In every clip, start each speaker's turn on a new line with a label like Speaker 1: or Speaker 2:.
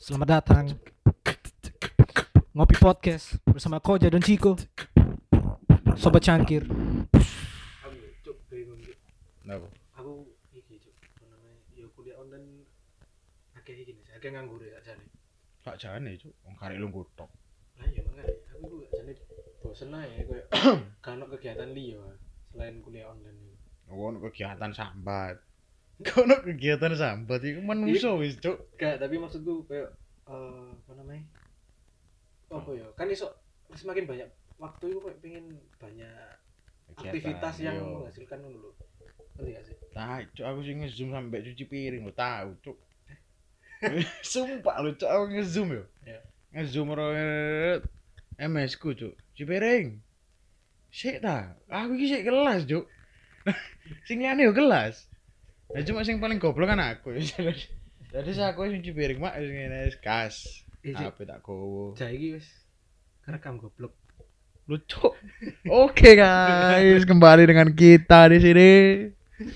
Speaker 1: Selamat datang Ngopi Podcast bersama Koja dan Ciko Sobat Cangkir
Speaker 2: aku ya, cuk bingung cuk
Speaker 3: Kenapa?
Speaker 2: aku iki cuk apa namanya ya kuliah online akeh iki nih akeh nganggur ya jane
Speaker 3: Kak jane cuk, wong karek lungguh tok.
Speaker 2: nah ya makanya aku ku jane bosen ae koyo kalau kegiatan liya selain kuliah online ini.
Speaker 3: Ono kegiatan sambat. Ono kegiatan sambat iku menungso wis cuk.
Speaker 2: Gak, tapi maksudku kayak eh apa namanya? Apa ya? Kan iso semakin banyak waktu itu kayak pengen banyak aktivitas yang menghasilkan ngono lho. Ngerti gak sih?
Speaker 3: Nah, cuk aku sing nge-zoom sampe cuci piring lho, tau cuk. Sumpah lho cuk aku nge-zoom yo.
Speaker 2: Iya.
Speaker 3: Nge-zoom ro MS ku cuk. Cuci piring. Sik ta. Aku iki sik kelas cuk. sing liyane yo kelas. Nah, cuma sing paling goblok kan aku. Jadi saya aku cuci piring mak sing ngene kas.
Speaker 2: Eh, Cuk.
Speaker 3: Apa tak kowo.
Speaker 2: Jai iki wis kerekam goblok.
Speaker 3: lucu. Oke guys, kembali dengan kita di sini.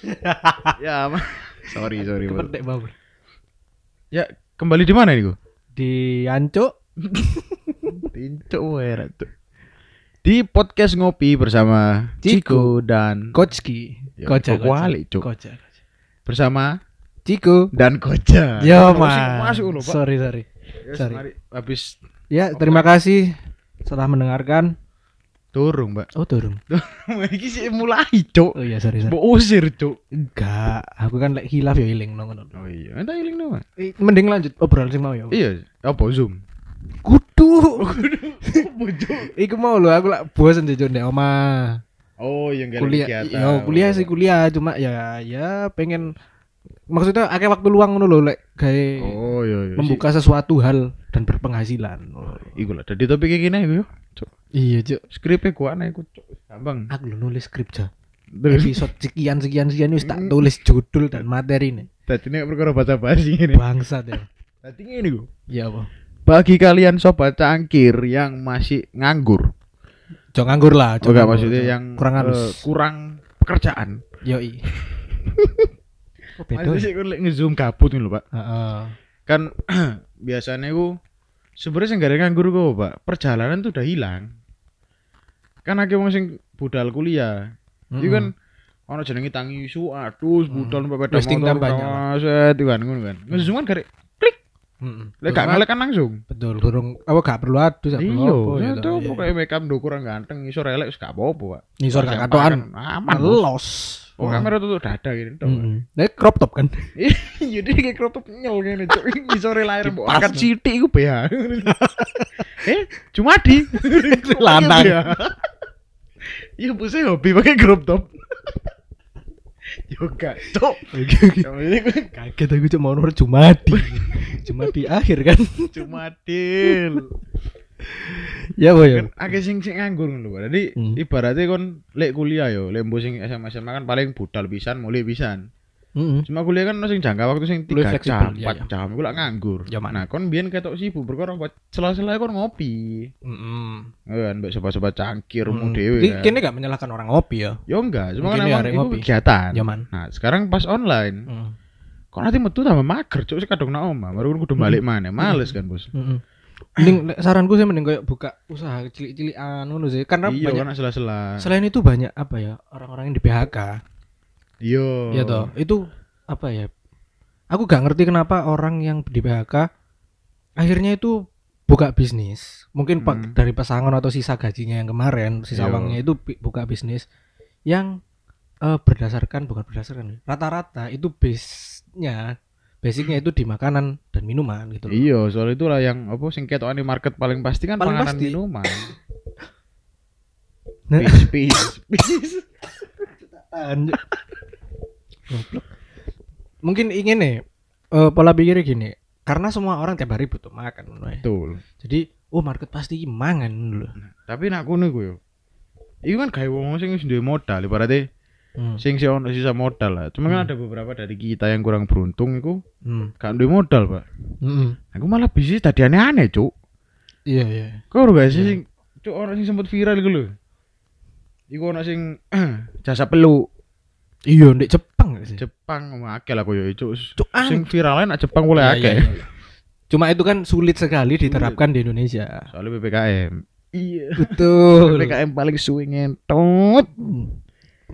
Speaker 3: ya, ma- sorry sorry. Bro.
Speaker 1: Kependek bau
Speaker 3: Ya kembali di mana ini gua?
Speaker 1: Di Anco
Speaker 3: Tincuk wera tuh. Di podcast ngopi bersama Ciko dan
Speaker 1: Hmm. Kochki
Speaker 3: Ya,
Speaker 1: Koja
Speaker 3: kok wali, Cuk.
Speaker 1: Koja
Speaker 3: bersama
Speaker 1: Ciko
Speaker 3: dan Koja.
Speaker 1: Yo
Speaker 3: Masuk-
Speaker 1: mas
Speaker 3: Masuk lho, Pak.
Speaker 1: Sorry sorry
Speaker 3: Yes,
Speaker 1: sorry.
Speaker 3: mari. Habis
Speaker 1: Ya terima kasih telah mendengarkan
Speaker 3: turun, Mbak.
Speaker 1: Oh turun
Speaker 3: Iki sih mulai, Cuk.
Speaker 1: Oh iya sorry sorry
Speaker 3: Mbok usir, Cuk.
Speaker 1: Enggak Aku kan like hilaf ya iling no, ngono.
Speaker 3: Oh iya, entah iling nama.
Speaker 1: Eh, Mending lanjut obrolan sing mau ya
Speaker 3: Iya, apa Zoom?
Speaker 1: Kudu
Speaker 3: Apa, Cuk?
Speaker 1: Iku mau lho aku lak bosen jujur nek omah
Speaker 3: Oh, yang gak ada
Speaker 1: kuliah
Speaker 3: kegiatan.
Speaker 1: yo kuliah sih kuliah cuma ya ya pengen maksudnya akeh waktu luang ngono lho lek gawe
Speaker 3: Oh, iya iya.
Speaker 1: membuka sesuatu hal dan berpenghasilan. Oh.
Speaker 3: Iku lah, jadi topik kayak gini iku. Cuk,
Speaker 1: Iya, Cuk.
Speaker 3: skripnya gua aneh iku, cuk. Gampang.
Speaker 1: Aku lho nulis skrip, Cuk.
Speaker 3: Terus
Speaker 1: Episode sekian sekian sekian wis
Speaker 3: Hmm.
Speaker 1: tak tulis judul dan materi ya. nih.
Speaker 3: tadi ini perkara bahasa basi ini.
Speaker 1: Bangsa deh.
Speaker 3: Tadi ini gua.
Speaker 1: Ya apa?
Speaker 3: Bagi kalian sobat cangkir yang masih nganggur,
Speaker 1: Jangan nganggur lah, Cuk.
Speaker 3: juga
Speaker 1: Nganggur,
Speaker 3: maksudnya
Speaker 1: Cuk.
Speaker 3: yang
Speaker 1: kurang
Speaker 3: eh,
Speaker 1: halus.
Speaker 3: kurang pekerjaan.
Speaker 1: Yoi. Kok beda?
Speaker 3: Masih
Speaker 1: ya?
Speaker 3: sih kan lek nge-zoom kabut nih lho, Pak.
Speaker 1: Heeh.
Speaker 3: Kan biasanya gua sebenarnya sing gak ada nganggur gua, Pak. Perjalanan tuh udah hilang. Kan akeh wong sing budal kuliah. Iya kan ono jenenge tangi isu atus budal numpak sepeda
Speaker 1: Listing
Speaker 3: motor
Speaker 1: kampanye.
Speaker 3: kawaset itu kan ngono kan. Wis kan gak
Speaker 1: Heeh.
Speaker 3: lek gak ngelek kan langsung.
Speaker 1: Betul, durung apa gak perlu adu, gak perlu apa, ya,
Speaker 3: Iya,
Speaker 1: Cuk.
Speaker 3: itu
Speaker 1: Iya,
Speaker 3: pokoknya make up ndo kurang ganteng iso relek wis gak apa-apa, Pak.
Speaker 1: iya. Ngisor gak
Speaker 3: Yang
Speaker 1: katokan.
Speaker 3: parah kan aman. Bos.
Speaker 1: Los.
Speaker 3: Oh, kamera tutup dada gitu. Pak.
Speaker 1: Heeh. Nek crop top kan.
Speaker 3: Iya, dia kayak crop top nyel ngene, Cuk. Iso relek mbok angkat sithik iku BH. Eh, cuma di
Speaker 1: Lanang.
Speaker 3: Iya, buse hobi pakai crop top. Yo gak, Cuk. Ini gue
Speaker 1: kaget aku cuma nomor Jumadi Jumadi akhir kan
Speaker 3: cuma deal
Speaker 1: ya boy
Speaker 3: kan akeh sing sing nganggur ngono lho Pak. Jadi
Speaker 1: Hmm.
Speaker 3: ibaratnya kon lek kuliah yo, lek mbo sing SMA SMA kan paling budal pisan, mulai pisan. Cuma kuliah kan ono sing jangka waktu sing
Speaker 1: Luwih
Speaker 3: 3
Speaker 1: fleksibel,
Speaker 3: jam,
Speaker 1: iya, iya.
Speaker 3: 4 jam iku lak nganggur.
Speaker 1: Ya, Mak.
Speaker 3: Nah, kon biyen ketok sibuk perkara buat sela-sela kon ngopi. Ngono kan mbek sobat-sobat cangkir mu dhewe.
Speaker 1: Ki-
Speaker 3: kan.
Speaker 1: kini gak menyalahkan orang ngopi ya
Speaker 3: Yo enggak, cuma
Speaker 1: Hmm.
Speaker 3: kan
Speaker 1: Mungkin ya,
Speaker 3: emang
Speaker 1: arek
Speaker 3: iku
Speaker 1: ngopi. Hmm.
Speaker 3: kegiatan.
Speaker 1: Ya, Man.
Speaker 3: Nah, sekarang pas online, kok nanti metu tambah mager, cuk sik kadung nang omah, baru kon
Speaker 1: Hmm.
Speaker 3: kudu balik maneh, males kan, Bos.
Speaker 1: mending le- saranku sih mending kayak buka usaha cilik-cilikan ngono sih karena
Speaker 3: Iya,
Speaker 1: banyak
Speaker 3: kan sela-sela.
Speaker 1: selain itu banyak apa ya orang-orang yang di PHK
Speaker 3: Yo.
Speaker 1: ya toh itu apa ya aku gak ngerti kenapa orang yang di PHK akhirnya itu buka bisnis mungkin pak
Speaker 3: Hmm. Iya.
Speaker 1: dari pasangan atau sisa gajinya yang kemarin sisa
Speaker 3: Yo.
Speaker 1: uangnya itu bi- buka bisnis yang eh, berdasarkan bukan berdasarkan rata-rata itu base-nya basicnya itu di makanan dan minuman gitu loh
Speaker 3: Iya, soal itulah yang apa sing ketokane market paling pasti kan
Speaker 1: Paling
Speaker 3: panganan
Speaker 1: pasti.
Speaker 3: minuman.
Speaker 1: Nah.
Speaker 3: Peace, peace, peace.
Speaker 1: Apaan, Cuk? Goblok. mungkin ingin nih eh, pola pikirnya gini karena semua orang tiap hari butuh makan menurut saya.
Speaker 3: Betul.
Speaker 1: jadi oh market pasti mangan dulu
Speaker 3: Tapi nak ngono iku yo. Iku kan gawe wong sing wis duwe modal ibarate
Speaker 1: hmm.
Speaker 3: sing sih ono sisa modal lah. Cuma kan ada beberapa dari kita yang kurang beruntung iku
Speaker 1: Hmm.
Speaker 3: gak duwe modal, Pak.
Speaker 1: Mm-mm.
Speaker 3: Aku malah bisnis tadi aneh-aneh, Cuk.
Speaker 1: iya iya
Speaker 3: Kau gak sih sing Cuk ono sing sempat viral iku lho. Iku ono sing jasa peluk
Speaker 1: iya ndek Jepang gak sih
Speaker 3: Jepang wah, akeh lah koyo iku, Cuk.
Speaker 1: Cuk, ah.
Speaker 3: Sing viralnya nak Jepang boleh
Speaker 1: Iya,
Speaker 3: akeh.
Speaker 1: iya, iya. Cuma itu kan sulit sekali diterapkan di Indonesia.
Speaker 3: Soalnya PPKM. Iya.
Speaker 1: Betul.
Speaker 3: PPKM paling suwe ngentot.
Speaker 1: Hmm.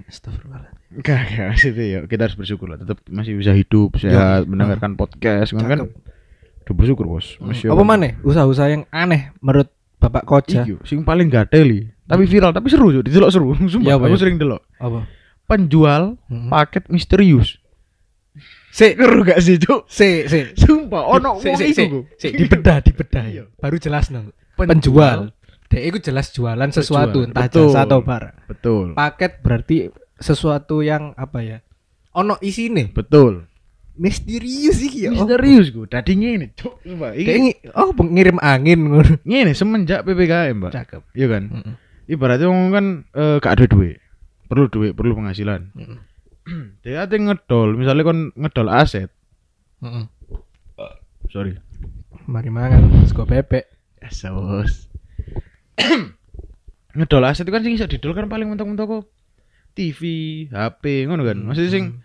Speaker 1: Astagfirullahaladzim.
Speaker 3: Enggak, enggak maksudnya ya. Kita harus bersyukur lah. Tetap masih bisa hidup, sehat, mendengarkan podcast kan kan.
Speaker 1: Iya. Cakep.
Speaker 3: Udah bersyukur, Bos. Masya
Speaker 1: Apa
Speaker 3: Allah.
Speaker 1: mana? Usaha-usaha yang aneh menurut Bapak Koja.
Speaker 3: Iya, sing paling gateli, tapi viral, tapi seru juga, didelok seru. Sumpah,
Speaker 1: Iya, apa
Speaker 3: aku
Speaker 1: ya?
Speaker 3: sering delok.
Speaker 1: Apa?
Speaker 3: Penjual
Speaker 1: Hmm.
Speaker 3: paket misterius.
Speaker 1: Si,
Speaker 3: Keru gak sih, Cuk?
Speaker 1: si, si.
Speaker 3: Sumpah, ono
Speaker 1: Si,
Speaker 3: Oh, wong
Speaker 1: si, si,
Speaker 3: iku. Cuk.
Speaker 1: si, dibedah, dibedah.
Speaker 3: Iya.
Speaker 1: Baru jelas nang. Penjual. Dek itu jelas jualan sesuatu, entah
Speaker 3: betul.
Speaker 1: jasa atau barang.
Speaker 3: Betul.
Speaker 1: Paket berarti sesuatu yang apa ya? Ono isine.
Speaker 3: Betul. Iya
Speaker 1: Misterius iki ya.
Speaker 3: Misterius gue. Tadi ngene, Cuk. Sumpah,
Speaker 1: Dek
Speaker 3: iki
Speaker 1: ini- oh pengirim angin ngono.
Speaker 3: ngene semenjak PPKM, Mbak.
Speaker 1: Cakep.
Speaker 3: Iya kan?
Speaker 1: Mm-mm.
Speaker 3: Ibaratnya wong kan eh, gak ada duit. Perlu duit, perlu penghasilan.
Speaker 1: Mm-mm.
Speaker 3: Dia ate ngedol, misalnya kon ngedol aset.
Speaker 1: Mm-mm.
Speaker 3: Sorry.
Speaker 1: Mari mangan sego bebek.
Speaker 3: Biasa, Bos. ngedol aset itu kan sing iso didol kan paling mentok-mentok kok. TV, HP, ngono kan. Maksudnya sing
Speaker 1: Hmm.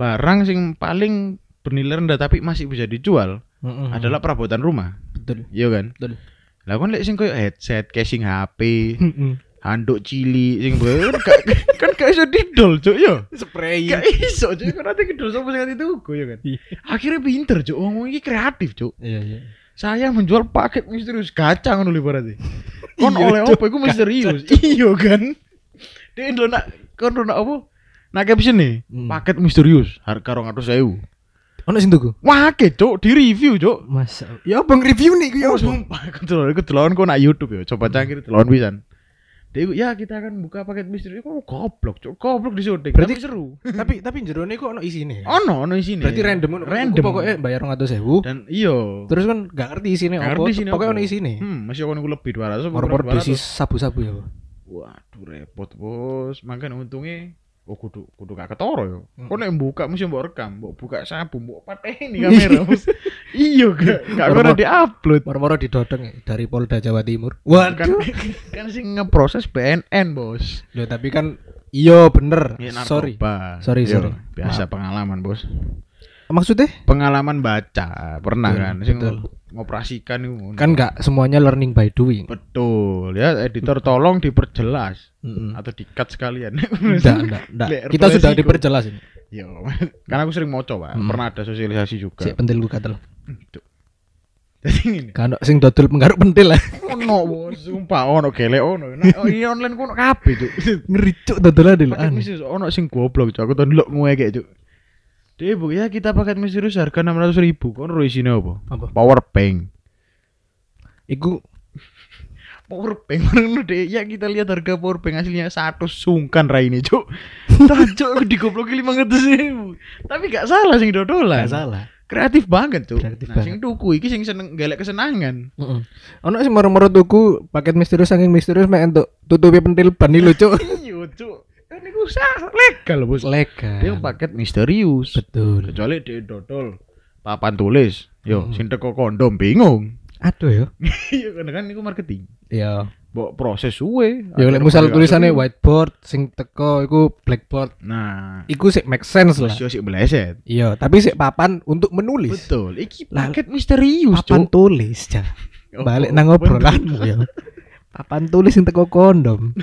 Speaker 3: barang sing paling bernilai rendah tapi masih bisa dijual
Speaker 1: Mm-mm.
Speaker 3: adalah perabotan rumah.
Speaker 1: betul.
Speaker 3: Iya kan?
Speaker 1: Hmm. Betul.
Speaker 3: Lah kon lek sing koyo headset, casing HP,
Speaker 1: Mm-mm.
Speaker 3: handuk cili sing ber gak- kan gak iso didol cuk yo
Speaker 1: Spray.
Speaker 3: gak iso cuk kan ate gedol sapa sing ati tuku yo kan
Speaker 1: Iya.
Speaker 3: akhirnya pinter cuk wong wong iki kreatif cuk
Speaker 1: Iya, iya.
Speaker 3: saya menjual paket misterius gacha ngono lho berarti kon
Speaker 1: Iya,
Speaker 3: oleh
Speaker 1: Cuk.
Speaker 3: opo iku misterius iya kan dia ndo nak kon ndo nak opo nak caption nih
Speaker 1: Hmm.
Speaker 3: paket misterius harga 200.000
Speaker 1: Ono sing tuku.
Speaker 3: wah cuk di review cuk
Speaker 1: Masa. Ya bang review nih
Speaker 3: Ya sumpah, aku telon, aku telon kok nak YouTube ya. Coba cangkir telon pisan. Dia ya kita akan buka paket misteri. Kok goblok, cok. Goblok di syuting.
Speaker 1: Berarti-
Speaker 3: Tapi seru.
Speaker 1: tapi tapi jerone kok ono isine.
Speaker 3: Ono ono isine.
Speaker 1: Berarti Iya. random ngono.
Speaker 3: Random.
Speaker 1: Aku Pokoknya bayar 200.000.
Speaker 3: dan iyo.
Speaker 1: Terus kan gak ngerti isine
Speaker 3: Gak
Speaker 1: apa.
Speaker 3: ngerti isine
Speaker 1: Pokoknya
Speaker 3: apa.
Speaker 1: ono isine.
Speaker 3: Hmm, masih ono ku lebih 200 apa
Speaker 1: Moro-moro
Speaker 3: kurang 200.
Speaker 1: diisi sabu-sabu ya, Pak.
Speaker 3: Waduh repot, Bos. Makan untungnya Oh kudu kudu gak ketoro yo. Kok nek buka mesti mbok rekam, mbok buka sabu, mbok pateni kamera. Bos. Iyo gak gak Kan- pernah
Speaker 1: Moro-moro.
Speaker 3: diupload.
Speaker 1: Moro-moro didodong ya, dari Polda Jawa Timur.
Speaker 3: Kan
Speaker 1: Waduh.
Speaker 3: kan sih ngeproses BNN, Bos.
Speaker 1: Loh, tapi kan iya bener.
Speaker 3: Ya,
Speaker 1: Sorry.
Speaker 3: narkoba.
Speaker 1: Sorry,
Speaker 3: Yo,
Speaker 1: sorry.
Speaker 3: Iya, Biasa pengalaman, Bos.
Speaker 1: Maksudnya
Speaker 3: Pengalaman baca, pernah
Speaker 1: Iya,
Speaker 3: kan sing
Speaker 1: betul.
Speaker 3: ngoperasikan itu. ngono.
Speaker 1: kan gak semuanya learning by doing.
Speaker 3: betul ya editor tolong diperjelas
Speaker 1: Heeh.
Speaker 3: atau dikat sekalian.
Speaker 1: Enggak, enggak, enggak.
Speaker 3: Lek
Speaker 1: Kita sudah
Speaker 3: resiko.
Speaker 1: diperjelas ini.
Speaker 3: Yo, karena aku sering mau coba,
Speaker 1: Hmm.
Speaker 3: pernah ada sosialisasi juga.
Speaker 1: Sik pentil ku katel.
Speaker 3: Jadi ngene.
Speaker 1: Kan sing dodol menggaruk pentil lah.
Speaker 3: Ono bos, sumpah ono gele ono. Nah, oh, iya online kono kabeh, Cuk.
Speaker 1: Ngeri cuk dodolan dulu.
Speaker 3: Paket misterius ono sing goblok, Cuk. Aku tau ndelok ngewek, Cuk. Dek, Bu, ya kita paket misterius harga 600 ribu. Kono isine apa?
Speaker 1: Apa?
Speaker 3: Power bank.
Speaker 1: Iku
Speaker 3: powerbank ngono deh ya kita lihat harga powerbank hasilnya satu sungkan rai ini cuk tajuk digobloki lima ratus ribu tapi gak salah sing dodolan
Speaker 1: gak salah.
Speaker 3: kreatif banget cuk
Speaker 1: Kreatif
Speaker 3: nah, sing tuku iki sing seneng galak kesenangan
Speaker 1: Heeh. Ono sing moro-moro tuku paket misterius saking misterius mek entuk tutupi pentil ban iki lho cuk.
Speaker 3: iya cuk kan iku sah legal bos dia
Speaker 1: Legal.
Speaker 3: paket misterius
Speaker 1: Betul.
Speaker 3: kecuali dia dodol papan tulis yo
Speaker 1: Hmm.
Speaker 3: sing teko kondom bingung
Speaker 1: Aduh ya.
Speaker 3: iya kan kan iku marketing
Speaker 1: Iya.
Speaker 3: Mbok proses suwe
Speaker 1: Ya lek
Speaker 3: Akhirnya
Speaker 1: misal
Speaker 3: balik-
Speaker 1: tulisannya whiteboard sing teko iku blackboard.
Speaker 3: nah
Speaker 1: Iku sik make sense lah.
Speaker 3: Masih beleset
Speaker 1: Iya, tapi sik papan untuk menulis.
Speaker 3: Betul, iki
Speaker 1: Lah,
Speaker 3: paket Oh, misterius, Cuk.
Speaker 1: Papan tulis ya. Balik nang obrolanmu ya. Papan tulis sing teko kondom.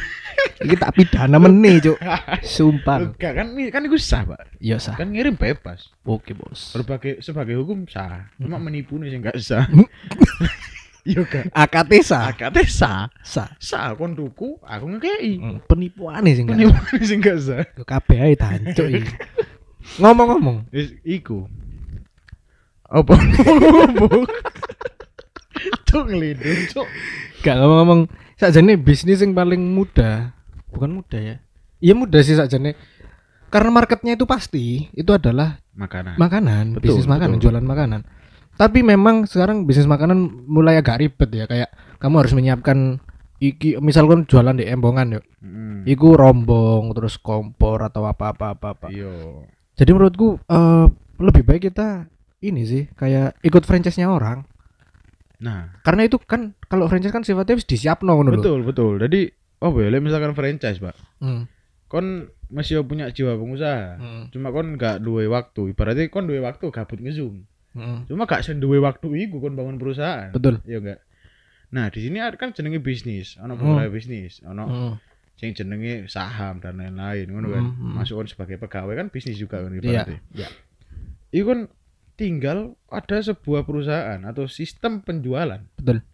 Speaker 1: Iki tak pidana meneh, Cuk. Sumpah.
Speaker 3: Enggak kan kan itu sah, Pak.
Speaker 1: Iya sah.
Speaker 3: Kan ngirim bebas.
Speaker 1: Oke, Bos.
Speaker 3: Berbagai sebagai hukum sah. Cuma
Speaker 1: Hmm.
Speaker 3: menipu nih sih enggak sah. Yo kan.
Speaker 1: AKT sah.
Speaker 3: Akate sah.
Speaker 1: Sah. Hmm.
Speaker 3: Sah kon tuku, aku ngekei.
Speaker 1: Penipuan sih enggak.
Speaker 3: Menipu nih sih enggak sah.
Speaker 1: Yo kabeh ae tancuk iki. Ngomong-ngomong,
Speaker 3: Wis iku. Apa? Cuk ngelindung, cuk.
Speaker 1: gak ngomong-ngomong sakjane bisnis yang paling mudah, bukan mudah ya. Iya mudah sih sakjane. Karena marketnya itu pasti itu adalah
Speaker 3: Makanan.
Speaker 1: makanan,
Speaker 3: Betul,
Speaker 1: bisnis makanan,
Speaker 3: betul.
Speaker 1: jualan makanan. Tapi memang sekarang bisnis makanan mulai agak ribet ya kayak kamu harus menyiapkan iki misalkan jualan di embongan yuk.
Speaker 3: Mm.
Speaker 1: Iku rombong terus kompor atau apa-apa apa-apa.
Speaker 3: Yo.
Speaker 1: Jadi menurutku eh, lebih baik kita ini sih kayak ikut franchise-nya orang.
Speaker 3: Nah,
Speaker 1: karena itu kan kalau franchise kan sifatnya harus disiapno ngono lho.
Speaker 3: betul, betul. Jadi oh boleh misalkan franchise, Pak.
Speaker 1: Hmm.
Speaker 3: Kon masih punya jiwa pengusaha.
Speaker 1: Hmm.
Speaker 3: cuma kon gak duwe waktu ibaratnya kon duwe waktu gabut ngezoom
Speaker 1: Mm-mm.
Speaker 3: Cuma gak sing duwe waktu iku kon bangun perusahaan.
Speaker 1: Betul.
Speaker 3: Iya enggak? Nah, di sini kan jenenge bisnis, ana
Speaker 1: Hmm.
Speaker 3: pegawai bisnis, ana
Speaker 1: Mm.
Speaker 3: sing jenenge saham dan lain-lain ngono kan.
Speaker 1: Hmm, hmm.
Speaker 3: Masuk kon sebagai pegawai kan bisnis juga kan
Speaker 1: Iya.
Speaker 3: ibaratnya.
Speaker 1: Iya.
Speaker 3: Iku kan tinggal ada sebuah perusahaan atau sistem penjualan
Speaker 1: Betul.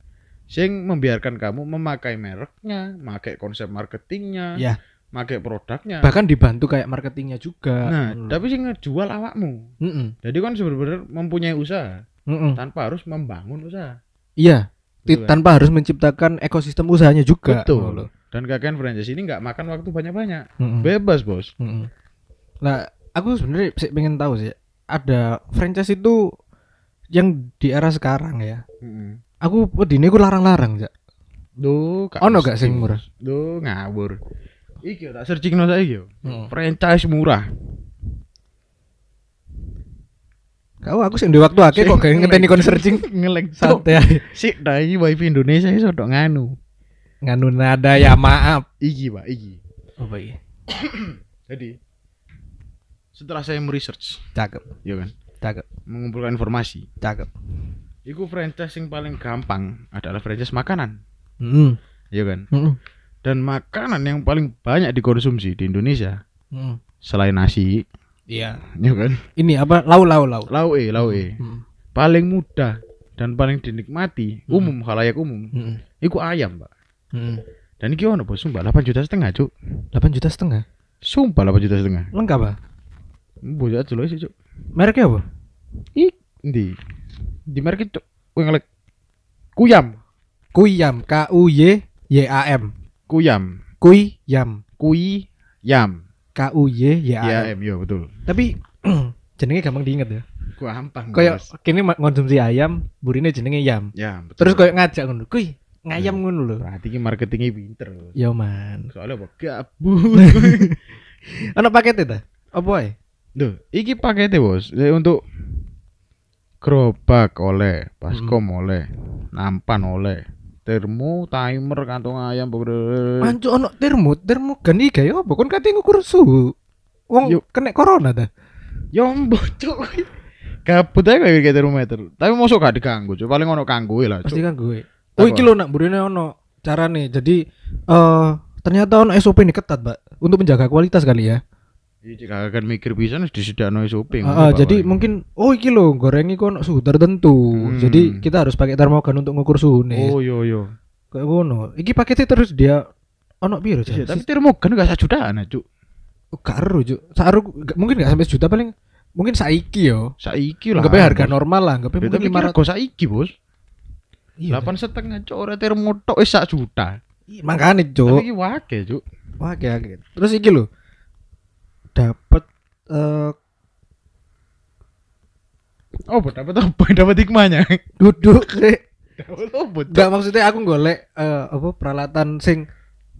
Speaker 3: sing membiarkan kamu memakai mereknya, memakai konsep marketingnya,
Speaker 1: Iya.
Speaker 3: memakai produknya.
Speaker 1: Bahkan dibantu kayak marketingnya juga.
Speaker 3: Nah,
Speaker 1: Ngono lho.
Speaker 3: tapi sing ngejual awakmu.
Speaker 1: Mm-mm.
Speaker 3: Jadi kan sebenarnya mempunyai usaha
Speaker 1: Mm-mm.
Speaker 3: tanpa harus membangun usaha.
Speaker 1: Iya, ti-
Speaker 3: Gitu kan.
Speaker 1: tanpa harus menciptakan ekosistem usahanya juga.
Speaker 3: Betul.
Speaker 1: ngono lho.
Speaker 3: Dan kakek franchise ini nggak makan waktu banyak-banyak.
Speaker 1: Mm-mm.
Speaker 3: Bebas, Bos.
Speaker 1: Mm-mm. Nah, aku sebenarnya sih pengen tahu sih ada franchise itu yang di era sekarang ya.
Speaker 3: Heeh.
Speaker 1: Aku wedine aku larang-larang, Cak.
Speaker 3: Duh,
Speaker 1: Ono
Speaker 3: mesti,
Speaker 1: gak sing
Speaker 3: Bos.
Speaker 1: murah?
Speaker 3: Duh, ngawur. Iki tak searching no saiki yo.
Speaker 1: Heeh.
Speaker 3: Franchise murah.
Speaker 1: Kau aku sing di waktu akeh kok gak ngenteni kon searching
Speaker 3: ngeleng
Speaker 1: santai. ae.
Speaker 3: Sik ta iki wifi Indonesia iso tok nganu.
Speaker 1: Nganu nada ya maaf.
Speaker 3: Iki, Pak, iki.
Speaker 1: Oh iya.
Speaker 3: Jadi setelah saya meresearch,
Speaker 1: Cakep,
Speaker 3: ya kan,
Speaker 1: cakep,
Speaker 3: mengumpulkan informasi.
Speaker 1: cakep.
Speaker 3: Iku franchise yang paling gampang adalah franchise makanan,
Speaker 1: Heeh.
Speaker 3: ya kan?
Speaker 1: Heeh.
Speaker 3: Dan makanan yang paling banyak dikonsumsi di Indonesia selain nasi,
Speaker 1: Hmm. Iya.
Speaker 3: ya kan?
Speaker 1: Ini apa? Lau lau lau.
Speaker 3: Lauk e, lauk e.
Speaker 1: Mm.
Speaker 3: Paling mudah dan paling dinikmati umum khalayak umum.
Speaker 1: Mm.
Speaker 3: Iku ayam, Pak.
Speaker 1: Mm.
Speaker 3: Dan iki ono bos sumpah 8 juta setengah, Cuk.
Speaker 1: 8 juta setengah.
Speaker 3: Sumpah 8 juta setengah.
Speaker 1: Lengkap ah.
Speaker 3: Mbok ya dulu sih, Cuk.
Speaker 1: Mereknya apa?
Speaker 3: Ih, ndi? Di merek Cuk. Kowe ngelek. Kuyam.
Speaker 1: Kuyam K U Y Y A M.
Speaker 3: Kuyam.
Speaker 1: Kuyam
Speaker 3: Kui yam.
Speaker 1: K U Y Y A M.
Speaker 3: YAM, yo iya, betul.
Speaker 1: Tapi jenenge gampang diinget ya.
Speaker 3: Gampang.
Speaker 1: Kayak
Speaker 3: Bos.
Speaker 1: kini ma- konsumsi ayam, burine jenenge yam.
Speaker 3: yam. Ya, betul.
Speaker 1: Terus kayak ngajak ngono, "Kuy, ngayam ngono lho."
Speaker 3: berarti iki marketingnya pinter. Bos.
Speaker 1: Yo Ya, man.
Speaker 3: Soalnya apa? Gabut.
Speaker 1: Ono paketnya ta? Apa ae?
Speaker 3: Duh, iki paketnya bos Jadi untuk gerobak oleh, baskom oleh, nampan oleh, termo, timer, kantong ayam, bener
Speaker 1: Ancu ono termo, termo gan iki gawe apa? Kon kate ngukur suhu. Wong
Speaker 3: Yo.
Speaker 1: kena corona ta?
Speaker 3: Yombo Ya cuk. Kabut aja kayak gitu termometer. Tapi mosok gak diganggu, cuk. Paling ono kanggo lah,
Speaker 1: Pasti
Speaker 3: cuk.
Speaker 1: kan gue. Oh
Speaker 3: Apa?
Speaker 1: iki lho nak burine ono carane. Jadi eh ternyata ono SOP ini ketat, Mbak, untuk menjaga kualitas kali ya.
Speaker 3: Iya, cik, gak akan mikir pisan wis disedakno e shopping.
Speaker 1: Ah, ah, jadi mungkin oh iki lho gorengi kok ono suhu tertentu.
Speaker 3: Hmm.
Speaker 1: Jadi kita harus pakai termogan untuk ngukur suhu nih.
Speaker 3: Oh, yo yo.
Speaker 1: Kayak ngono. Iki paketnya terus dia ono piro sih?
Speaker 3: Iya, tapi termogan gak sak jutaan, cuk.
Speaker 1: Gak ero, Cuk. Saru gak- mungkin gak sampai sejuta paling mungkin saiki yo.
Speaker 3: Saiki lah.
Speaker 1: Anggapnya harga
Speaker 3: Bos.
Speaker 1: normal lah, anggapnya
Speaker 3: Ya,
Speaker 1: mungkin
Speaker 3: Tapi
Speaker 1: lima
Speaker 3: kira
Speaker 1: ratus. Iya.
Speaker 3: kok saiki, Bos. Delapan setengah cuk ora termo tok wis sak juta.
Speaker 1: Makanya
Speaker 3: Tapi
Speaker 1: cuk.
Speaker 3: iki wake, cuk.
Speaker 1: Wah, oke, oke. Terus iki lho. Dapat eh
Speaker 3: Oh, dapat apa? Dapat hikmahnya. Oh,
Speaker 1: duduk Rek.
Speaker 3: Dapat apa? Cuk?
Speaker 1: Enggak maksudnya aku golek eh, apa peralatan sing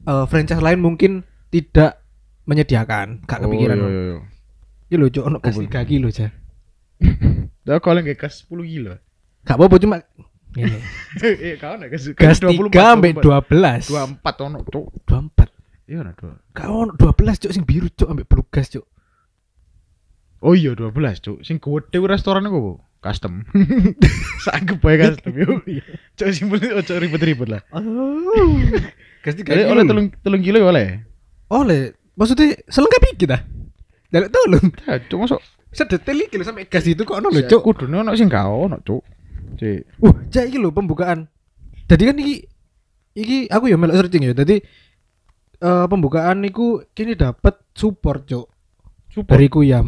Speaker 1: eh, franchise lain mungkin tidak menyediakan. Gak kepikiran.
Speaker 3: Oh, iya, iya, iya.
Speaker 1: Iki lho cuk ono gas 3 kilo aja.
Speaker 3: Dah kalau nggak kas 10 kilo.
Speaker 1: Gak apa-apa cuma ngene.
Speaker 3: Eh, kau nggak kas
Speaker 1: Gas 3 sampai 12.
Speaker 3: 24 ono, Cuk.
Speaker 1: 24.
Speaker 3: Iya, nah, dua.
Speaker 1: Gak ono 12 cuk sing biru cuk ambek blue gas cuk.
Speaker 3: Oh iya 12, Cuk. Sing gede ku restoran iku, Bu. Custom. Sanggup bae custom yo.
Speaker 1: Iya.
Speaker 3: Cuk simpel ojo ribet-ribet lah.
Speaker 1: Oh. gas 3
Speaker 3: Jadi
Speaker 1: kilo.
Speaker 3: oleh
Speaker 1: lho.
Speaker 3: telung telung kilo ya oleh.
Speaker 1: Oleh. Maksudnya selengkap iki ta? Jaluk tolong.
Speaker 3: Ya, Cuk masuk.
Speaker 1: Sedetail iki lho sampai gas itu kok ono lho
Speaker 3: Cuk
Speaker 1: Iya, cuk.
Speaker 3: kudune ono sing gak ono, Cuk. Cik.
Speaker 1: Wah, cak iki lho pembukaan. Jadi kan iki iki aku ya melok searching ya. Jadi eh pembukaan niku kini dapat support, Cuk.
Speaker 3: Super.
Speaker 1: Dari Kuyam.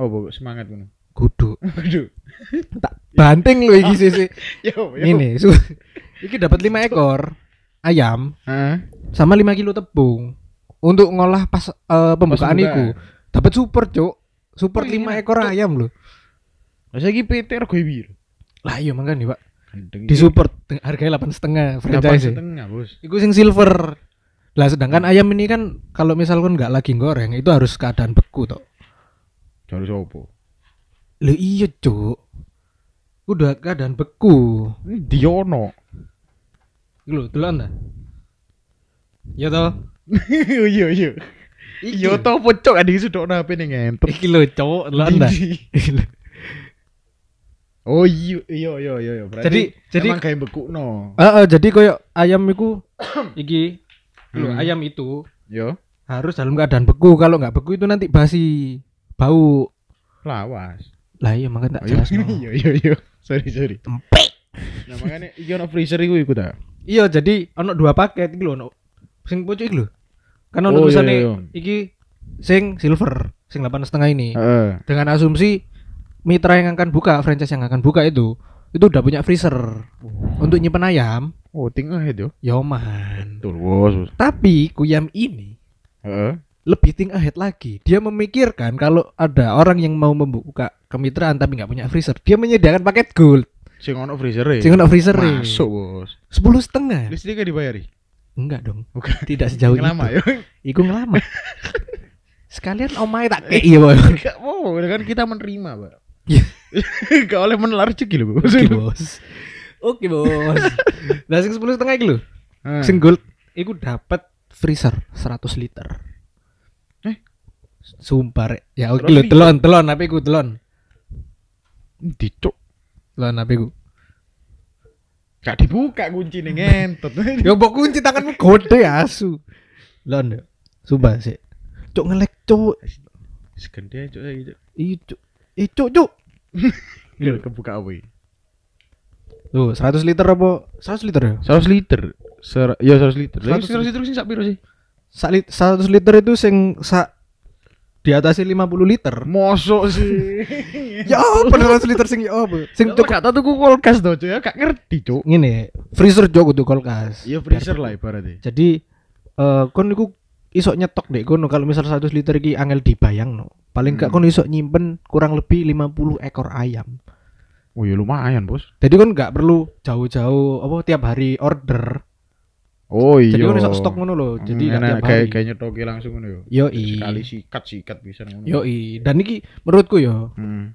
Speaker 3: Oh, Bu, semangat ngono.
Speaker 1: Kudu.
Speaker 3: Aduh. Ya,
Speaker 1: Tak banting lho iki sisi.
Speaker 3: Yo, yo.
Speaker 1: Ini su. Iki dapat 5 ekor ayam
Speaker 3: Heeh.
Speaker 1: sama 5 kilo tepung untuk ngolah pas eh, pembukaan
Speaker 3: Pas
Speaker 1: niku. Dapat support, Cuk. Support
Speaker 3: Oh,
Speaker 1: 5
Speaker 3: iya,
Speaker 1: ekor
Speaker 3: Cuk.
Speaker 1: ayam lho.
Speaker 3: Lah saiki PT rego biru.
Speaker 1: Lah iya makanya, Pak.
Speaker 3: Gendeng. ya.
Speaker 1: Di support harganya 8,5 setengah franchise.
Speaker 3: setengah, Bos.
Speaker 1: Iku sing silver. Lah sedangkan ayam ini kan kalau misalkan nggak lagi goreng itu harus keadaan beku toh.
Speaker 3: Jalur sopo?
Speaker 1: Lho iya, Cuk. Udah keadaan beku.
Speaker 3: Ini Diono.
Speaker 1: Iku lho, delokan ta? Ya toh.
Speaker 3: Iya iya. Iya
Speaker 1: toh.
Speaker 3: tau pocok ada isu dok HP nih ngentut.
Speaker 1: Iki lho, cowok delokan ta?
Speaker 3: Didi.
Speaker 1: Iki lho.
Speaker 3: Oh iya iya iya iya. iya. Berarti
Speaker 1: Jadi- jadi-
Speaker 3: emang kayak beku no.
Speaker 1: Eh, eh, jadi koyo ayam iku iki lho,
Speaker 3: Hmm.
Speaker 1: ayam itu
Speaker 3: Yo
Speaker 1: harus dalam keadaan beku. Kalau nggak beku itu nanti basi, bau.
Speaker 3: lawas.
Speaker 1: Lah iya makanya tak
Speaker 3: Iya
Speaker 1: jelas. no.
Speaker 3: iya iya iya. Sorry sorry.
Speaker 1: Tempe.
Speaker 3: Nah makanya iki ono freezer iku iku ta.
Speaker 1: Iya, jadi ono dua paket iki lho ono sing pucuk iki lho. Kan ono
Speaker 3: Oh, iya,
Speaker 1: tulisane
Speaker 3: iya.
Speaker 1: iki sing silver, sing 8,5 ini.
Speaker 3: Heeh.
Speaker 1: Dengan asumsi mitra yang akan buka, franchise yang akan buka itu itu udah punya freezer untuk nyimpen ayam,
Speaker 3: Oh tinggal
Speaker 1: ya,
Speaker 3: ahead yo.
Speaker 1: yoman.
Speaker 3: Betul bos. bos.
Speaker 1: Tapi kuyam ini
Speaker 3: Heeh.
Speaker 1: lebih think ahead lagi. Dia memikirkan kalau ada orang yang mau membuka kemitraan tapi nggak punya freezer, dia menyediakan paket gold.
Speaker 3: Sing ono freezer e?
Speaker 1: Sing ono freezer e. Ya.
Speaker 3: Masuk bos.
Speaker 1: sepuluh setengah.
Speaker 3: Listrik gak dibayari.
Speaker 1: Enggak dong.
Speaker 3: Bukan.
Speaker 1: Tidak sejauh itu.
Speaker 3: Lama yo.
Speaker 1: Iku ngelamar. Sekalian omae tak kei ya, Bos.
Speaker 3: Gak mau kan kita menerima pak.
Speaker 1: Iya.
Speaker 3: Gak oleh menelar cek lho bos.
Speaker 1: Oke, Bos. Oke, Bos. Nah, sing 10 setengah iki lho.
Speaker 3: Heeh.
Speaker 1: Sing gold iku dapat freezer 100 liter.
Speaker 3: Eh?
Speaker 1: Sumpah, Rek. Ya oke
Speaker 3: 100
Speaker 1: lho,
Speaker 3: liter?
Speaker 1: telon, telon apa iku telon.
Speaker 3: dicok.
Speaker 1: Telon apa iku?
Speaker 3: Gak dibuka kunci nih ngentot.
Speaker 1: Ya mbok kunci tanganmu gode asu. Telon. ya. Sumpah sih. Cuk ngelek, cuk.
Speaker 3: Segede cok saya gitu.
Speaker 1: Ih, cuk. Ih, cuk, cuk.
Speaker 3: Ini kebuka apa ini?
Speaker 1: Tuh, 100 liter apa? 100 liter ya?
Speaker 3: 100 liter. Ser ya 100 liter.
Speaker 1: 100
Speaker 3: Lagi 100 liter sih sak piro sih?
Speaker 1: Sak lit- 100 liter itu sing sak di atasnya 50 liter.
Speaker 3: Mosok sih.
Speaker 1: Ya
Speaker 3: Iya.
Speaker 1: apa 100 liter sing ya apa? Sing
Speaker 3: Cuk
Speaker 1: cukup
Speaker 3: kata tuku kulkas to, Cuk. Ya gak ngerti, Cuk.
Speaker 1: ngene, freezer jog untuk kulkas.
Speaker 3: Iya freezer lah ibaratnya.
Speaker 1: Jadi eh kon iku iso nyetok dek kono kalau misal 100 liter iki angel dibayangno. Paling gak
Speaker 3: Hmm.
Speaker 1: kon iso nyimpen kurang lebih 50 ekor ayam.
Speaker 3: Oh ya lumayan, Bos.
Speaker 1: Jadi kon gak perlu jauh-jauh apa tiap hari order.
Speaker 3: Oh iya. Hmm,
Speaker 1: Jadi kon iso stok ngono loh. Jadi gak tiap
Speaker 3: kayak
Speaker 1: hari.
Speaker 3: kayak nyetok langsung ngono yo. iya.
Speaker 1: Yoi.
Speaker 3: Sekali sikat sikat bisa ngono.
Speaker 1: Yoi. Dan iki menurutku yo
Speaker 3: Hmm.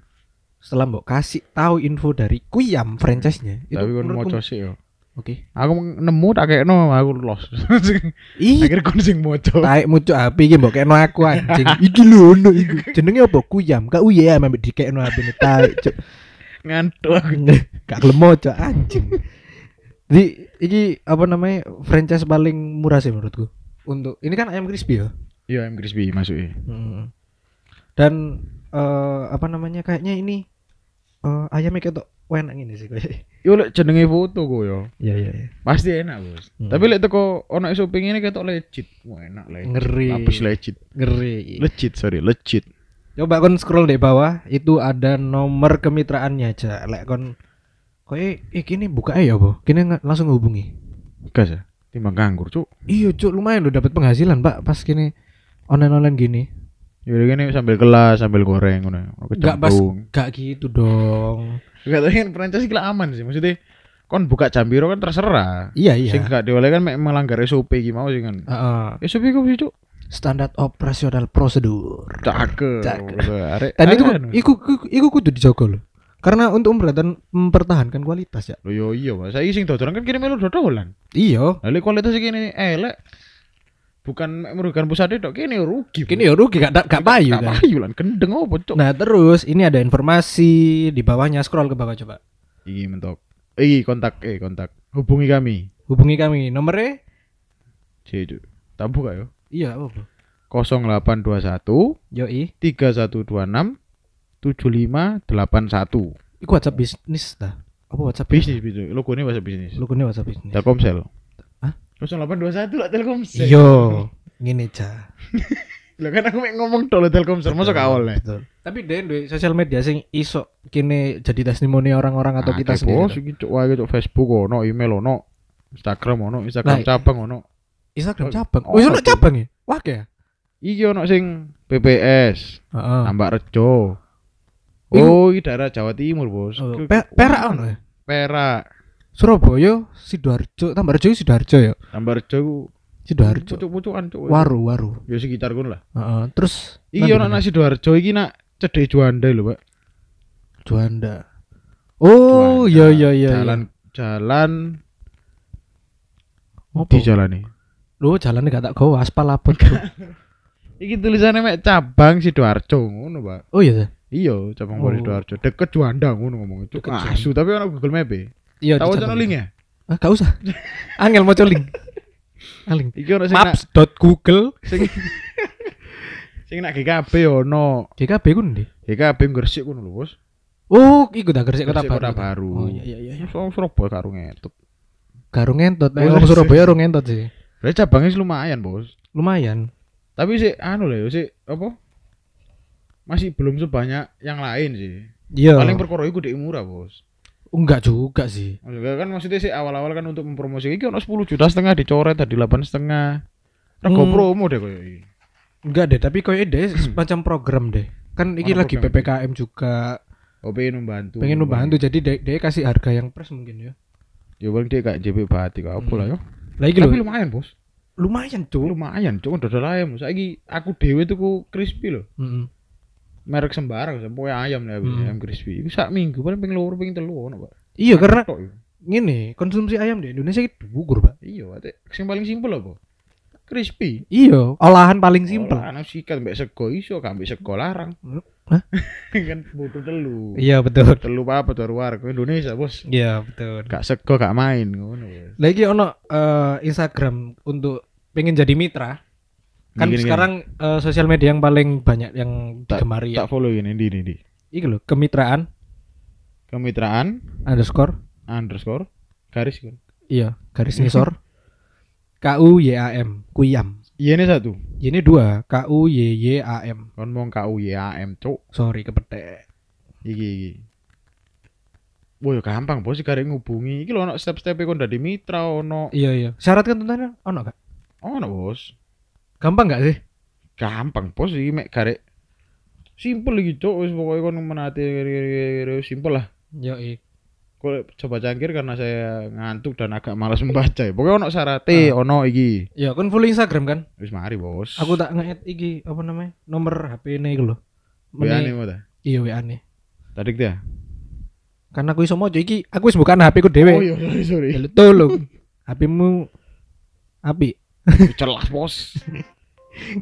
Speaker 1: setelah mbok kasih tahu info dari Kuyam franchise-nya
Speaker 3: Tapi kon
Speaker 1: menurutku-
Speaker 3: moco sih yo.
Speaker 1: Oke.
Speaker 3: Aku nemu tak kayakno aku lost.
Speaker 1: Ih,
Speaker 3: Akhir kon sing moco.
Speaker 1: taek mucuk api iki mbok kekno aku anjing. iki lho ono iku. Jenenge apa? Kuyam. Kak uye ya, ambek dikekno apine taek cuk.
Speaker 3: Ngantuk.
Speaker 1: Gak gelemo cuk anjing. Jadi iki apa namanya? Franchise paling murah sih menurutku. Untuk ini kan ayam crispy ya.
Speaker 3: Iya, ayam crispy masuk ya.
Speaker 1: Hmm. Dan eh, apa namanya? Kayaknya ini eh, ayamnya kayak enak ini sih kayaknya.
Speaker 3: Yo lek jenenge foto kok yo.
Speaker 1: Iya iya iya.
Speaker 3: Pasti enak, Bos.
Speaker 1: Hmm.
Speaker 3: Tapi lek teko ono shopping ini ketok legit. Wah, enak legit. Iya.
Speaker 1: Ngeri.
Speaker 3: Habis legit.
Speaker 1: Ngeri.
Speaker 3: Legit, sorry, legit.
Speaker 1: Coba kon scroll di bawah, itu ada nomor kemitraannya aja. Lek kon koe iki ini buka ya, Bu. Kene nge- langsung hubungi.
Speaker 3: Gas ya. Timbang nganggur, Cuk.
Speaker 1: Iya, Cuk, lumayan lo dapat penghasilan, Pak, pas kini online-online gini.
Speaker 3: Ya ini sambil kelas, sambil goreng ngono.
Speaker 1: Enggak pas enggak gitu dong.
Speaker 3: Enggak tahu kan franchise gila aman sih. Maksudnya kon buka jambiro kan terserah.
Speaker 1: Iya, iya. Ah.
Speaker 3: Sing gak dioleh kan mek melanggar SOP iki mau sih kan.
Speaker 1: Heeh.
Speaker 3: SOP kok sih, Cuk?
Speaker 1: standar operasional prosedur.
Speaker 3: Cakep.
Speaker 1: Cakep.
Speaker 3: Arek.
Speaker 1: Dan itu kan-
Speaker 3: anu.
Speaker 1: iku iku- iku kudu dijaga loh. Karena untuk mm, mempertahan- mempertahankan kualitas ya.
Speaker 3: Lho yo iya, Mas. Saiki sing dodolan kan kirim melu dodolan.
Speaker 1: Iya.
Speaker 3: Lah lek kualitas iki ini elek. Bukan mek merugikan pusat e itu, kini rugi. Bos.
Speaker 1: Kini ya rugi gak gak payu
Speaker 3: Gak
Speaker 1: kan.
Speaker 3: payu lan gendeng apa, Cuk?
Speaker 1: Nah, terus ini ada informasi di bawahnya scroll ke bawah coba.
Speaker 3: Iki mentok. Iki kontak eh kontak. Hubungi kami.
Speaker 1: Hubungi kami nomornya
Speaker 3: C, Cuk. Tak buka yo.
Speaker 1: Iya, apa?
Speaker 3: 0821
Speaker 1: Yoi,
Speaker 3: 3126 7581
Speaker 1: iku WhatsApp bisnis dah. Apa WhatsApp
Speaker 3: bisnis bisnis lo ini bahasa bisnis
Speaker 1: Lu kene WhatsApp bisnis.
Speaker 3: Telkomsel
Speaker 1: Hah? Iya.
Speaker 3: 0821 lah Telkomsel
Speaker 1: Yo, ngene ja.
Speaker 3: Lah kan aku mek ngomong tol Telkomsel masuk awal nih
Speaker 1: Betul. Tapi dia duwe sosial media sing iso kene jadi testimoni orang-orang atau kita
Speaker 3: bos
Speaker 1: sendiri.
Speaker 3: iki cok wae cok Facebook ono email ono Instagram ono
Speaker 1: Nah,
Speaker 3: Instagram cabang ono
Speaker 1: Instagram
Speaker 3: Oh,
Speaker 1: cabang.
Speaker 3: oh,
Speaker 1: Wis ono
Speaker 3: ada.
Speaker 1: cabang ya? Wah ya.
Speaker 3: iki ono sing PPS
Speaker 1: Heeh.
Speaker 3: Tambak Rejo
Speaker 1: Ini-
Speaker 3: Oh, iki daerah Jawa Timur, Bos.
Speaker 1: Oh,
Speaker 3: Iki-
Speaker 1: Pe- Perak ono ya?
Speaker 3: Perak.
Speaker 1: Surabaya, Sidoarjo, Tambarjo, Sidoarjo ya.
Speaker 3: Tambak Rejo iku
Speaker 1: Sidoarjo.
Speaker 3: pucuk-pucukan cok.
Speaker 1: Waru, waru.
Speaker 3: Ya sekitar kono lah.
Speaker 1: Heeh. Terus
Speaker 3: Iki Iya, ono
Speaker 1: nanti
Speaker 3: nasi Sidoarjo iki nak cedek Juanda lho, Pak.
Speaker 1: mana? Juanda. Oh,
Speaker 3: Juanda.
Speaker 1: iya iya iya.
Speaker 3: Jalan jalan
Speaker 1: di
Speaker 3: di jalan nih.
Speaker 1: Lu jalannya gak tak gawa aspal apa tuh.
Speaker 3: Iki tulisannya mek cabang Sidoarjo ngono, Pak.
Speaker 1: Oh iya.
Speaker 3: Iya, cabang
Speaker 1: Oh.
Speaker 3: Polri Sidoarjo. Deket Juanda ngono ngomong itu.
Speaker 1: Deket
Speaker 3: Asu, tapi ana Google Map. e.
Speaker 1: Iya,
Speaker 3: Tahu
Speaker 1: di
Speaker 3: channel
Speaker 1: Jabang.
Speaker 3: linknya?
Speaker 1: Ah, gak usah. Angel mau link. Aling.
Speaker 3: Iki ono sing nak
Speaker 1: Maps.google
Speaker 3: sing sing nak GKB ono.
Speaker 1: GKB ku ndi?
Speaker 3: GKB Gresik kuwi lho, Bos.
Speaker 1: Oh, iku dah Gresik kota
Speaker 3: Gresik
Speaker 1: baru.
Speaker 3: Kota Baru.
Speaker 1: Oh iya iya iya. iya.
Speaker 3: Song Surabaya karo ngetuk.
Speaker 1: Garung entot,
Speaker 3: Iya,
Speaker 1: orang
Speaker 3: Gresik.
Speaker 1: Surabaya orang entot sih.
Speaker 3: Lah cabangnya sih lumayan, Bos.
Speaker 1: Lumayan.
Speaker 3: Tapi sih anu lho, sih apa? Masih belum sebanyak yang lain sih.
Speaker 1: Iya.
Speaker 3: Paling perkara iku dek murah, Bos.
Speaker 1: enggak juga sih.
Speaker 3: Maksudnya kan maksudnya sih awal-awal kan untuk mempromosikan iki ono 10 juta setengah dicoret tadi 8 setengah. Rego
Speaker 1: Hmm.
Speaker 3: promo deh koyo iki.
Speaker 1: Enggak deh, tapi koyo deh semacam program deh. Kan iki
Speaker 3: Ono
Speaker 1: lagi
Speaker 3: program.
Speaker 1: PPKM juga
Speaker 3: Oh pengen membantu.
Speaker 1: pengen membantu jadi deh deh kasih harga yang pres mungkin ya.
Speaker 3: Ya paling dia kayak JP Batik apa
Speaker 1: Hmm.
Speaker 3: lah yo.
Speaker 1: Lah iki
Speaker 3: Tapi
Speaker 1: lho
Speaker 3: lumayan, Bos.
Speaker 1: lumayan
Speaker 3: Oh,
Speaker 1: tuh.
Speaker 3: Lumayan, cuma dodol ayam. Saiki aku dhewe tuku crispy lho.
Speaker 1: Heeh.
Speaker 3: Merek sembarang, sampo ayam lah
Speaker 1: Hmm.
Speaker 3: hmm. ayam crispy. Iku sak minggu paling ping loro ping telu ono, Pak.
Speaker 1: Iya karena
Speaker 3: Tok iku.
Speaker 1: ngene konsumsi ayam di Indonesia itu gugur, Pak.
Speaker 3: Iya, ate sing paling simpel apa? Crispy.
Speaker 1: Iya, olahan paling simpel.
Speaker 3: Anak sikat mbek sego iso, gak mbek sego larang.
Speaker 1: Hah?
Speaker 3: kan butuh telu.
Speaker 1: Iya betul.
Speaker 3: telu apa tuh luar ke Indonesia bos
Speaker 1: Iya betul.
Speaker 3: gak sego gak main ngono bos.
Speaker 1: Lagi ono eh, Instagram untuk pengen jadi mitra. Kan
Speaker 3: Gini, gini,
Speaker 1: sekarang eh, sosial media yang paling banyak yang digemari
Speaker 3: gini.
Speaker 1: ya.
Speaker 3: tak follow ini di ini di
Speaker 1: Iki loh, kemitraan
Speaker 3: kemitraan
Speaker 1: underscore
Speaker 3: underscore garis kan
Speaker 1: iya garis nisor K U Y A M Kuyam.
Speaker 3: iya ini satu
Speaker 1: Ini dua K U Y Y A M.
Speaker 3: kan mau KU YAM cok
Speaker 1: Sorry kepetek.
Speaker 3: iki iki Woi gampang bos karek ngubungi iki lho ono e step-stepe kon dadi mitra ono Oh,
Speaker 1: Iya iya. Syarat tuntutannya ono gak?
Speaker 3: ono bos
Speaker 1: Gampang gak sih?
Speaker 3: gampang bos iki mek karek simpel iki cok wis pokoke kon menate simpel lah
Speaker 1: Yo
Speaker 3: Kok coba cangkir karena saya ngantuk dan agak malas membaca. Pokoknya ono syaratnya, ono iki.
Speaker 1: Ya kan full Instagram kan?
Speaker 3: Wis mari, Bos.
Speaker 1: Aku tak nge-add iki apa namanya? Nomor HP ini iku loh.
Speaker 3: WA
Speaker 1: Meni-
Speaker 3: nih mau ta.
Speaker 1: Iya WA nih.
Speaker 3: Tadi dia.
Speaker 1: Karena aku iso mojo iki, aku wis bukan HP ku dhewe.
Speaker 3: Oh iya, sorry, sorry.
Speaker 1: Ya lu tolong. HPmu api
Speaker 3: Celas, Bos.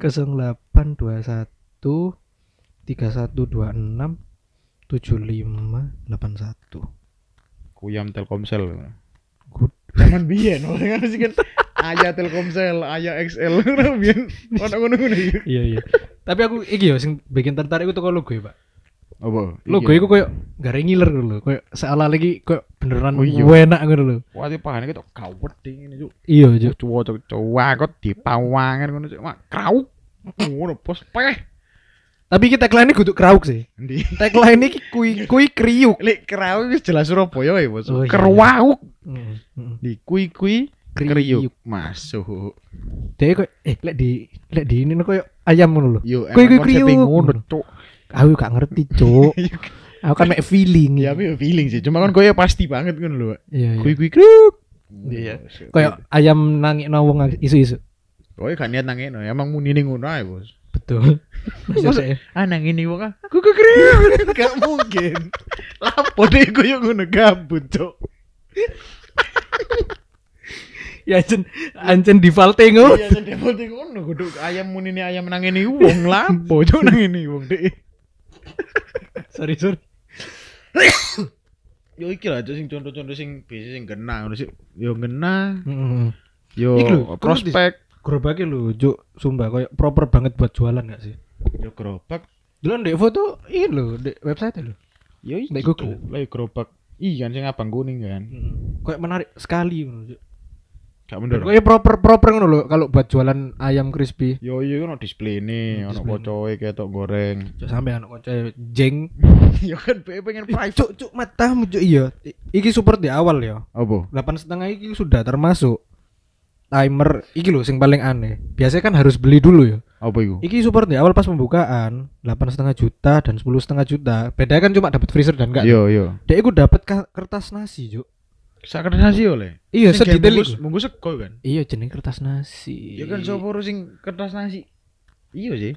Speaker 1: 0821 3126 7581.
Speaker 3: Kuyam Telkomsel.
Speaker 1: Good.
Speaker 3: Zaman biyen, orang kan sih kan Aya Telkomsel, Aya XL, orang gitu. biyen ono ngono-ngono iki.
Speaker 1: Iya iya. Tapi aku iki yo sing bikin tertarik itu kalau gue, ya, Pak.
Speaker 3: Apa? Iya.
Speaker 1: Logo iku koyo gare ngiler lho, koyo seolah lagi koyo beneran
Speaker 3: Oh, iya.
Speaker 1: enak ngono lho.
Speaker 3: Wati pahane ketok kawet ngene, Cuk.
Speaker 1: Iya, Jo.
Speaker 3: Cuwa cuk cuwa kok dipawangan ngono, Cuk. Mak krau. Ngono, Bos. Peh.
Speaker 1: Tapi kita tagline ini kudu kerauk sih.
Speaker 3: Endi?
Speaker 1: Tagline ini kui kui kriuk.
Speaker 3: Lek krau wis jelas Surabaya ya, Bos.
Speaker 1: Oh, iya.
Speaker 3: Kerwau
Speaker 1: Heeh. heeh.
Speaker 3: di kui-kui
Speaker 1: Kriuk.
Speaker 3: kriuk masuk.
Speaker 1: Dia koyo eh lek di lek di ini koyo ayam ngono lho.
Speaker 3: Yo,
Speaker 1: Kui-kui kriuk.
Speaker 3: emang konsepnya ngono, Cuk.
Speaker 1: Aku gak ngerti, Cuk. Aku kan make feeling.
Speaker 3: Ya, tapi feeling sih. Cuma kan koyo pasti banget ngono lho, Pak.
Speaker 1: Iya, iya.
Speaker 3: Kui kui kriuk.
Speaker 1: Iya.
Speaker 3: Buset.
Speaker 1: Kayak ayam nangis nawang isu-isu.
Speaker 3: Kowe gak niat nang ngene, emang muni ning ngono ae, Bos.
Speaker 1: Betul. Maksudnya,
Speaker 3: Maksud- Ah nang ngene wong ah. Kui kui kriuk. Gak mungkin. Lapo deh koyo ngono gabut, Cuk.
Speaker 1: ya ancen ancen default tengok.
Speaker 3: Iya, jadi default iki ngono kudu ayam muni ning ayam nang ngene wong lapo, Cuk nang ngene wong dek.
Speaker 1: Sorry, sorry.
Speaker 3: Yo iki lah Cuk, sing contoh-contoh sing biasa sing kena ngono sih. Yo kena,
Speaker 1: Heeh.
Speaker 3: yo
Speaker 1: Iki lho, kok
Speaker 3: prospek,
Speaker 1: Gerobaknya lu, Juk, sumpah kayak proper banget buat jualan gak sih?
Speaker 3: yo gerobak,
Speaker 1: Dulu ndek foto ini lho, ndek website lho.
Speaker 3: yo iki. gitu.
Speaker 1: Nek
Speaker 3: Cuk.
Speaker 1: Google.
Speaker 3: Lah yo gerobak. Iya kan sing abang kuning kan.
Speaker 1: Kayak menarik sekali ngono, Juk.
Speaker 3: Gak mendorong.
Speaker 1: Kayak proper proper ngono lho kalau buat jualan ayam crispy.
Speaker 3: Yo yo ono display-ne,
Speaker 1: Hmm,
Speaker 3: ono
Speaker 1: display-ne.
Speaker 3: pocoke ketok goreng.
Speaker 1: Cuk sampe anak kanca jeng.
Speaker 3: yo kan be pengen
Speaker 1: Ih, Cuk, cuk matamu Cuk iya. I- Iki super di awal ya.
Speaker 3: Apa?
Speaker 1: delapan setengah iki sudah termasuk timer iki loh sing paling aneh biasanya kan harus beli dulu ya
Speaker 3: Apa iku?
Speaker 1: iki super di awal pas pembukaan delapan setengah juta dan sepuluh setengah juta bedanya kan cuma dapat freezer dan enggak
Speaker 3: Yo yo.
Speaker 1: dek iku dapat ka- kertas nasi juk
Speaker 3: Sakernasi oleh.
Speaker 1: iya
Speaker 3: Sing kayak
Speaker 1: sedetail
Speaker 3: bungkus-
Speaker 1: iku.
Speaker 3: Bungkus sego kan.
Speaker 1: iya jeneng kertas nasi
Speaker 3: Yo kan sapa ro sing kertas nasi? Iya sih.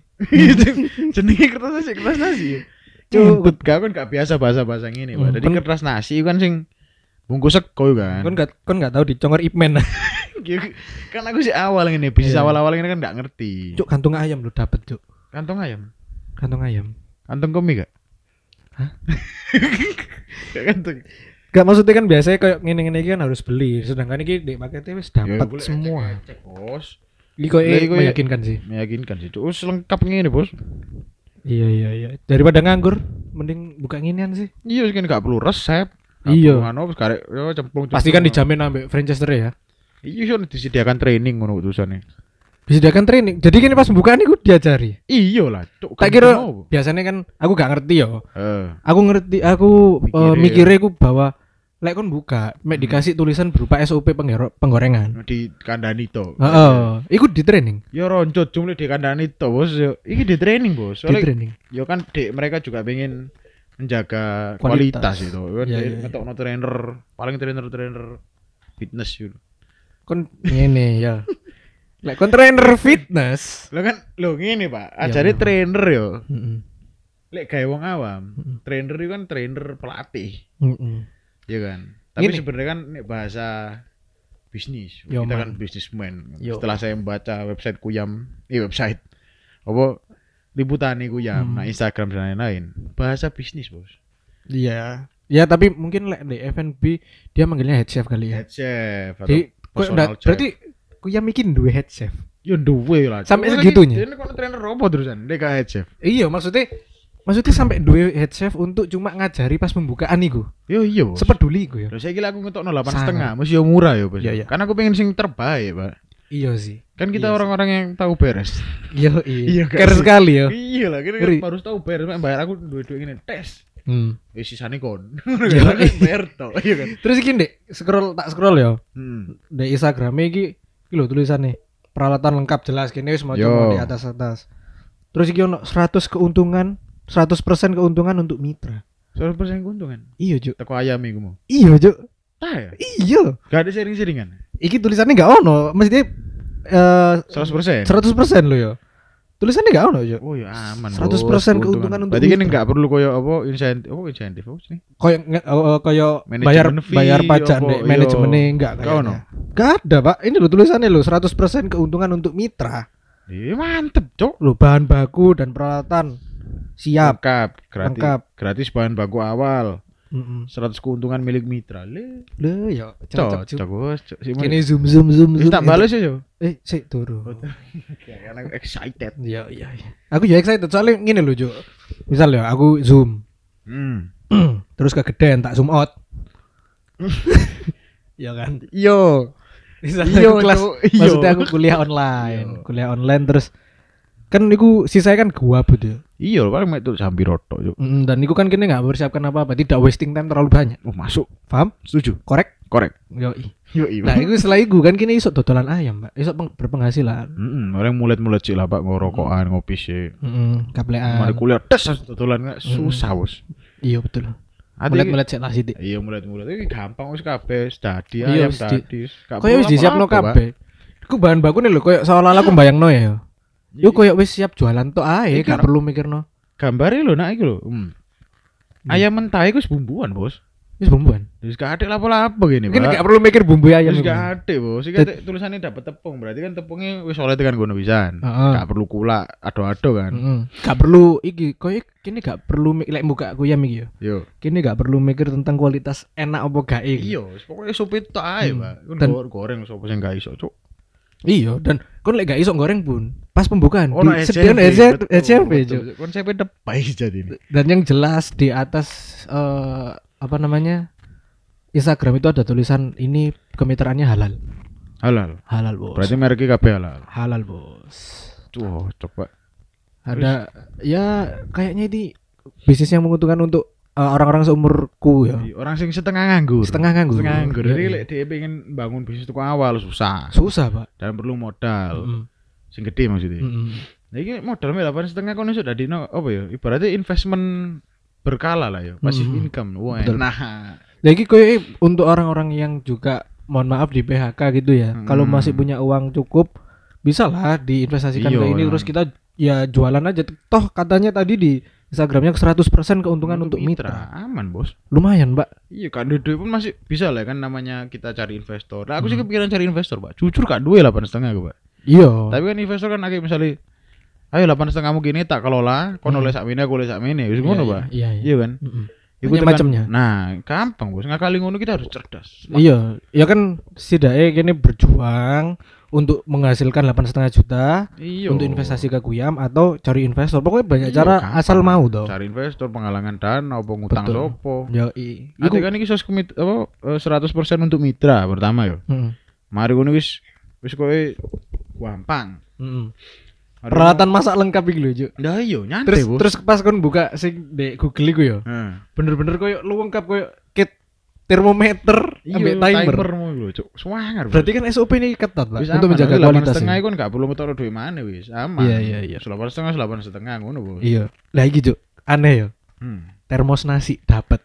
Speaker 3: Jen- Jenenge kertas nasi, kertas nasi.
Speaker 1: Cuk.
Speaker 3: Cuk, gak kan gak biasa bahasa-bahasa ngene,
Speaker 1: Hmm,
Speaker 3: Pak. Jadi
Speaker 1: kan-
Speaker 3: kertas nasi kan sing bungkus sego kan.
Speaker 1: kon gak kon gak tahu dicongor Ipman
Speaker 3: Yo, kan aku sih awal ngene, bisnis
Speaker 1: Iya.
Speaker 3: awal-awal ngene kan gak ngerti.
Speaker 1: juk kantung ayam lo dapet juk
Speaker 3: Kantong ayam.
Speaker 1: kantung ayam
Speaker 3: Kantong komi gak?
Speaker 1: Hah?
Speaker 3: Gak kenteng.
Speaker 1: Gak maksudnya kan biasanya kayak ngene-ngene iki kan harus beli, sedangkan iki di paketnya wis
Speaker 3: Ya,
Speaker 1: dapat
Speaker 3: boleh
Speaker 1: semua.
Speaker 3: cek, Bos.
Speaker 1: Iki
Speaker 3: Lah, ya.
Speaker 1: koyo
Speaker 3: iki koyo-
Speaker 1: meyakinkan sih.
Speaker 3: Meyakinkan sih, Cuk. Wis lengkap ngene, Bos.
Speaker 1: Iya iya iya. Daripada nganggur mending buka nginian sih.
Speaker 3: Iya, kan gak perlu resep. Gak
Speaker 1: Iya.
Speaker 3: perlu Anu wis karek yo cemplung.
Speaker 1: Pastikan kan dijamin ambek Franchester ya.
Speaker 3: Iya, yo disediakan training ngono tulisane.
Speaker 1: Disediakan training. Jadi gini pas bukaan iku diajari.
Speaker 3: Iya lah, Cuk.
Speaker 1: Tak
Speaker 3: kan
Speaker 1: kira
Speaker 3: mau.
Speaker 1: biasanya kan aku gak ngerti yo.
Speaker 3: Eh,
Speaker 1: Aku ngerti aku eh,
Speaker 3: Mikirnya. Hmm.
Speaker 1: mikirnya aku bahwa lek kon buka mek dikasih tulisan berupa SOP penggero- penggorengan.
Speaker 3: di kandani to.
Speaker 1: Heeh, iku di training,
Speaker 3: Yo roncut cuma di kandani to, Bos. Yo, Iki di training,
Speaker 1: di
Speaker 3: Bos. Soalnya
Speaker 1: training.
Speaker 3: ya kan dek mereka juga pengen menjaga
Speaker 1: Kualitas.
Speaker 3: kualitas, itu kan
Speaker 1: Iya,
Speaker 3: ya,
Speaker 1: iya, iya.
Speaker 3: trainer paling trainer trainer fitness gitu
Speaker 1: Kon ngene ya. Lek kon trainer fitness.
Speaker 3: lo kan lo gini pak
Speaker 1: Iya,
Speaker 3: ajari
Speaker 1: iya.
Speaker 3: trainer yo
Speaker 1: Heeh.
Speaker 3: lek kayak wong awam
Speaker 1: Mm-mm.
Speaker 3: trainer itu kan trainer pelatih
Speaker 1: Heeh.
Speaker 3: ya kan tapi
Speaker 1: Gini.
Speaker 3: sebenarnya kan nek bahasa bisnis
Speaker 1: Yo,
Speaker 3: kita
Speaker 1: man.
Speaker 3: kan businessman
Speaker 1: Yo.
Speaker 3: setelah saya membaca website kuyam eh website apa liputan kuyam
Speaker 1: Hmm.
Speaker 3: nah Instagram dan lain-lain bahasa bisnis bos
Speaker 1: Iya. Ya tapi mungkin lek di F&B dia manggilnya head chef kali ya.
Speaker 3: head chef atau
Speaker 1: Jadi kok
Speaker 3: personal
Speaker 1: ndak-
Speaker 3: chef.
Speaker 1: berarti kok yang bikin dua head chef.
Speaker 3: Ya duwe lah.
Speaker 1: Sampai
Speaker 3: Cuma
Speaker 1: segitunya?
Speaker 3: lagi, Ini kok trainer robot terusan, dia kayak head chef.
Speaker 1: Iya, maksudnya maksudnya sampai dua head chef untuk cuma ngajari pas pembukaan iku.
Speaker 3: Yo yo.
Speaker 1: Sepeduli iku ya.
Speaker 3: Terus saya gila aku ngetok no delapan
Speaker 1: Sangat.
Speaker 3: setengah, mesti yo murah yo bos.
Speaker 1: Iya, iya.
Speaker 3: Karena aku pengen sing terbaik pak.
Speaker 1: Iya sih.
Speaker 3: Kan
Speaker 1: Iya
Speaker 3: kita
Speaker 1: sih.
Speaker 3: orang-orang yang tahu beres.
Speaker 1: Iya,
Speaker 3: Iya,
Speaker 1: iya.
Speaker 3: gak
Speaker 1: Care
Speaker 3: sih?
Speaker 1: sekali ya.
Speaker 3: iya lah, kita
Speaker 1: Ngeri.
Speaker 3: kan harus tahu beres. Mak, Bayar aku dua-dua ini tes.
Speaker 1: Hmm.
Speaker 3: Eh sisane kon.
Speaker 1: Iya.
Speaker 3: Kan Bayar tau, iya kan.
Speaker 1: Terus iki Dek, scroll tak scroll ya.
Speaker 3: Hmm.
Speaker 1: Di Instagram iki iki lho tulisannya peralatan lengkap jelas kene wis mau
Speaker 3: Yo.
Speaker 1: di atas-atas. Terus iki ono 100 keuntungan, 100% keuntungan untuk mitra.
Speaker 3: Soal persen keuntungan.
Speaker 1: Iya, Juk.
Speaker 3: Teko ayam iku mau.
Speaker 1: Iya, Juk.
Speaker 3: Tah ya.
Speaker 1: Iya.
Speaker 3: Gak ada sering-seringan.
Speaker 1: Iki tulisannya nggak ono, mesti eh
Speaker 3: 100 persen.
Speaker 1: seratus persen lo ya. Tulisannya nggak ono ya.
Speaker 3: Oh ya aman.
Speaker 1: 100%
Speaker 3: Bos,
Speaker 1: keuntungan untuk
Speaker 3: Berarti kan
Speaker 1: mitra.
Speaker 3: enggak perlu koyo apa insentif, apa insentif apa sih?
Speaker 1: Kayak nge- eh, eh, kayak
Speaker 3: Manajemen
Speaker 1: bayar
Speaker 3: fee,
Speaker 1: bayar pajak
Speaker 3: apa,
Speaker 1: dek
Speaker 3: iya.
Speaker 1: manajemennya nggak
Speaker 3: Nggak
Speaker 1: kayaknya.
Speaker 3: ono.
Speaker 1: Nggak ada pak. Ini lo tulisannya lo 100% keuntungan untuk mitra.
Speaker 3: Iya mantep, Cok.
Speaker 1: Lo bahan baku dan peralatan siap.
Speaker 3: lengkap gratis
Speaker 1: Lengkap.
Speaker 3: gratis bahan baku awal
Speaker 1: Mm-mm.
Speaker 3: 100 keuntungan milik mitra le
Speaker 1: Lo ya cocok
Speaker 3: cocok
Speaker 1: cocok.
Speaker 3: bos cok si
Speaker 1: Ini zoom zoom zoom zoom.
Speaker 3: tak balas ya Cok.
Speaker 1: Eh sih turu.
Speaker 3: ya karena aku excited
Speaker 1: Iya iya. iya. Aku juga excited soalnya gini lo Jo. Misal ya aku zoom
Speaker 3: hmm.
Speaker 1: terus kegedean tak zoom out. Iya kan.
Speaker 3: yo
Speaker 1: Misalnya
Speaker 3: Iya,
Speaker 1: aku kelas,
Speaker 3: Cuk. Iya.
Speaker 1: maksudnya aku kuliah online,
Speaker 3: Iya.
Speaker 1: kuliah online terus kan niku sisanya kan gua ya.
Speaker 3: iya lho, paling itu sambil roto Cok.
Speaker 1: Mm, dan niku kan kini nggak mempersiapkan apa-apa, tidak wasting time terlalu banyak.
Speaker 3: oh masuk
Speaker 1: Paham?
Speaker 3: setuju
Speaker 1: Korek?
Speaker 3: korek
Speaker 1: Yo.
Speaker 3: yo iya
Speaker 1: Nah, itu setelah iku kan kini isok dodolan ayam, Pak. Isok peng- berpenghasilan.
Speaker 3: Mm-mm, orang mulet-mulet sih lah pak ngorokokan ngopi sih
Speaker 1: Heeh,
Speaker 3: Mari
Speaker 1: kaplean.
Speaker 3: kuliah tes tutulan nggak susah bos
Speaker 1: Iya betul.
Speaker 3: Ati-
Speaker 1: Mulet-mulet cek lah sithik.
Speaker 3: iya mulet-mulet ini gampang wis kabeh tadi
Speaker 1: Iya,
Speaker 3: ayam
Speaker 1: wis di-
Speaker 3: tadi
Speaker 1: Kayak wis disiapno kabeh. Iku bahan bakune lho, koyo seolah-olah aku bayangno ya. Yo koyo wis siap jualan tok ae,
Speaker 3: Iya,
Speaker 1: gak
Speaker 3: kan.
Speaker 1: perlu mikirno.
Speaker 3: gambarnya lho nak iki lho hmm. ayam mentah itu bumbuan bos
Speaker 1: Wis bumbuan.
Speaker 3: Terus gak ada lapo-lapo gini,
Speaker 1: Mungkin
Speaker 3: Pak.
Speaker 1: gak perlu mikir bumbu ayam.
Speaker 3: Terus
Speaker 1: iku.
Speaker 3: gak ada, Bos. Iki
Speaker 1: Tet-
Speaker 3: te- tulisannya dapat tepung, berarti kan tepungnya wis oleh tekan gono pisan.
Speaker 1: Heeh.
Speaker 3: Gak perlu gula, ado-ado kan.
Speaker 1: Mm-mm. Gak perlu iki, koyo kini gak perlu mi- lek buka kuyam iki yo.
Speaker 3: Yo.
Speaker 1: Kini gak perlu mikir tentang kualitas enak apa gak iki.
Speaker 3: Iya, wis pokoknya sup itu ae,
Speaker 1: Hmm.
Speaker 3: Pak. Kan
Speaker 1: Dan-
Speaker 3: gor- goreng sapa sing gak iso, Cuk.
Speaker 1: Iya, dan kon lek gak iso goreng pun pas pembukaan
Speaker 3: Ono
Speaker 1: di sediakan
Speaker 3: SCMP, betul,
Speaker 1: SCMP,
Speaker 3: betul.
Speaker 1: Cuk.
Speaker 3: Konsepnya depai jadi ini.
Speaker 1: Dan yang jelas di atas eh, apa namanya? Instagram itu ada tulisan ini kemitraannya halal.
Speaker 3: Halal.
Speaker 1: Halal, Bos.
Speaker 3: Berarti mereknya kabeh halal.
Speaker 1: halal, Bos.
Speaker 3: Tuh, coba.
Speaker 1: Ada ya kayaknya ini bisnis yang menguntungkan untuk eh, orang-orang seumurku ya.
Speaker 3: Orang sing setengah nganggur.
Speaker 1: Setengah nganggur.
Speaker 3: Setengah nganggur. Jadi
Speaker 1: Iya,
Speaker 3: lek dia pengen bangun bisnis toko awal susah
Speaker 1: Susah, Pak.
Speaker 3: dan perlu modal.
Speaker 1: Mm.
Speaker 3: Sing gede maksudnya.
Speaker 1: Mm-mm.
Speaker 3: Nah, ini modalnya delapan setengah kan sudah di apa ya? Ibaratnya investment berkala lah ya, pasif
Speaker 1: Hmm.
Speaker 3: income. Wah,
Speaker 1: Betul.
Speaker 3: nah,
Speaker 1: Jadi koyo eh, untuk orang-orang yang juga mohon maaf di PHK gitu ya.
Speaker 3: Hmm.
Speaker 1: Kalau masih punya uang cukup bisa lah diinvestasikan
Speaker 3: Iya,
Speaker 1: ke ini
Speaker 3: nah.
Speaker 1: terus kita ya jualan aja. Toh katanya tadi di Instagramnya 100% keuntungan untuk mitra.
Speaker 3: aman bos.
Speaker 1: Lumayan, Mbak.
Speaker 3: Iya, kak duit pun masih bisa lah kan namanya kita cari investor. Nah,
Speaker 1: Hmm.
Speaker 3: aku sih kepikiran cari investor pak. Jujur kak duit delapan setengah pak.
Speaker 1: Iya.
Speaker 3: Tapi kan investor kan akhirnya misalnya ayo delapan setengah mungkin tak kelola kon
Speaker 1: Hmm.
Speaker 3: oleh sakmene aku oleh sakmene wis ngono pak
Speaker 1: Iya, iya.
Speaker 3: iya kan
Speaker 1: Mm-mm.
Speaker 3: Iku
Speaker 1: Banyak
Speaker 3: tekan-
Speaker 1: macamnya.
Speaker 3: nah gampang bos ngakali ngono kita harus cerdas
Speaker 1: Iya, ya kan setidaknya kini berjuang untuk menghasilkan 8,5 juta
Speaker 3: iya
Speaker 1: untuk investasi ke Guyam atau cari investor. Pokoknya banyak
Speaker 3: Iya,
Speaker 1: cara
Speaker 3: gampang.
Speaker 1: asal mau toh.
Speaker 3: cari investor penghalangan dana apa ngutang
Speaker 1: Betul.
Speaker 3: sopo
Speaker 1: Yo, i.
Speaker 3: Nanti kan ini sos komit apa eh, 100% untuk mitra pertama yo.
Speaker 1: Heeh.
Speaker 3: Mari ngono wis wis kowe gampang.
Speaker 1: Heeh.
Speaker 3: Mari
Speaker 1: Peralatan masak lengkap iki lho, Juk.
Speaker 3: ngono- Lah iya nyantai,
Speaker 1: Terus
Speaker 3: Bos. Nah.
Speaker 1: terus pas kon buka sing di Google iku yo.
Speaker 3: Heeh.
Speaker 1: Bener-bener koyo lengkap koyo kit termometer
Speaker 3: Iya,
Speaker 1: ambek timer.
Speaker 3: mu lho, Cuk. Swangar. Bos.
Speaker 1: Berarti kan SOP ini ketat lah
Speaker 3: Wis
Speaker 1: untuk
Speaker 3: aman,
Speaker 1: menjaga
Speaker 3: nanti
Speaker 1: kualitas.
Speaker 3: setengah
Speaker 1: ini.
Speaker 3: iku gak perlu metoro duwe mana wis. Aman.
Speaker 1: Iya, iya, iya.
Speaker 3: Selapan setengah, selapan setengah ngono, Bos.
Speaker 1: Iya. Lah iki, Juk, aneh yo.
Speaker 3: Hmm.
Speaker 1: Termos nasi dapat.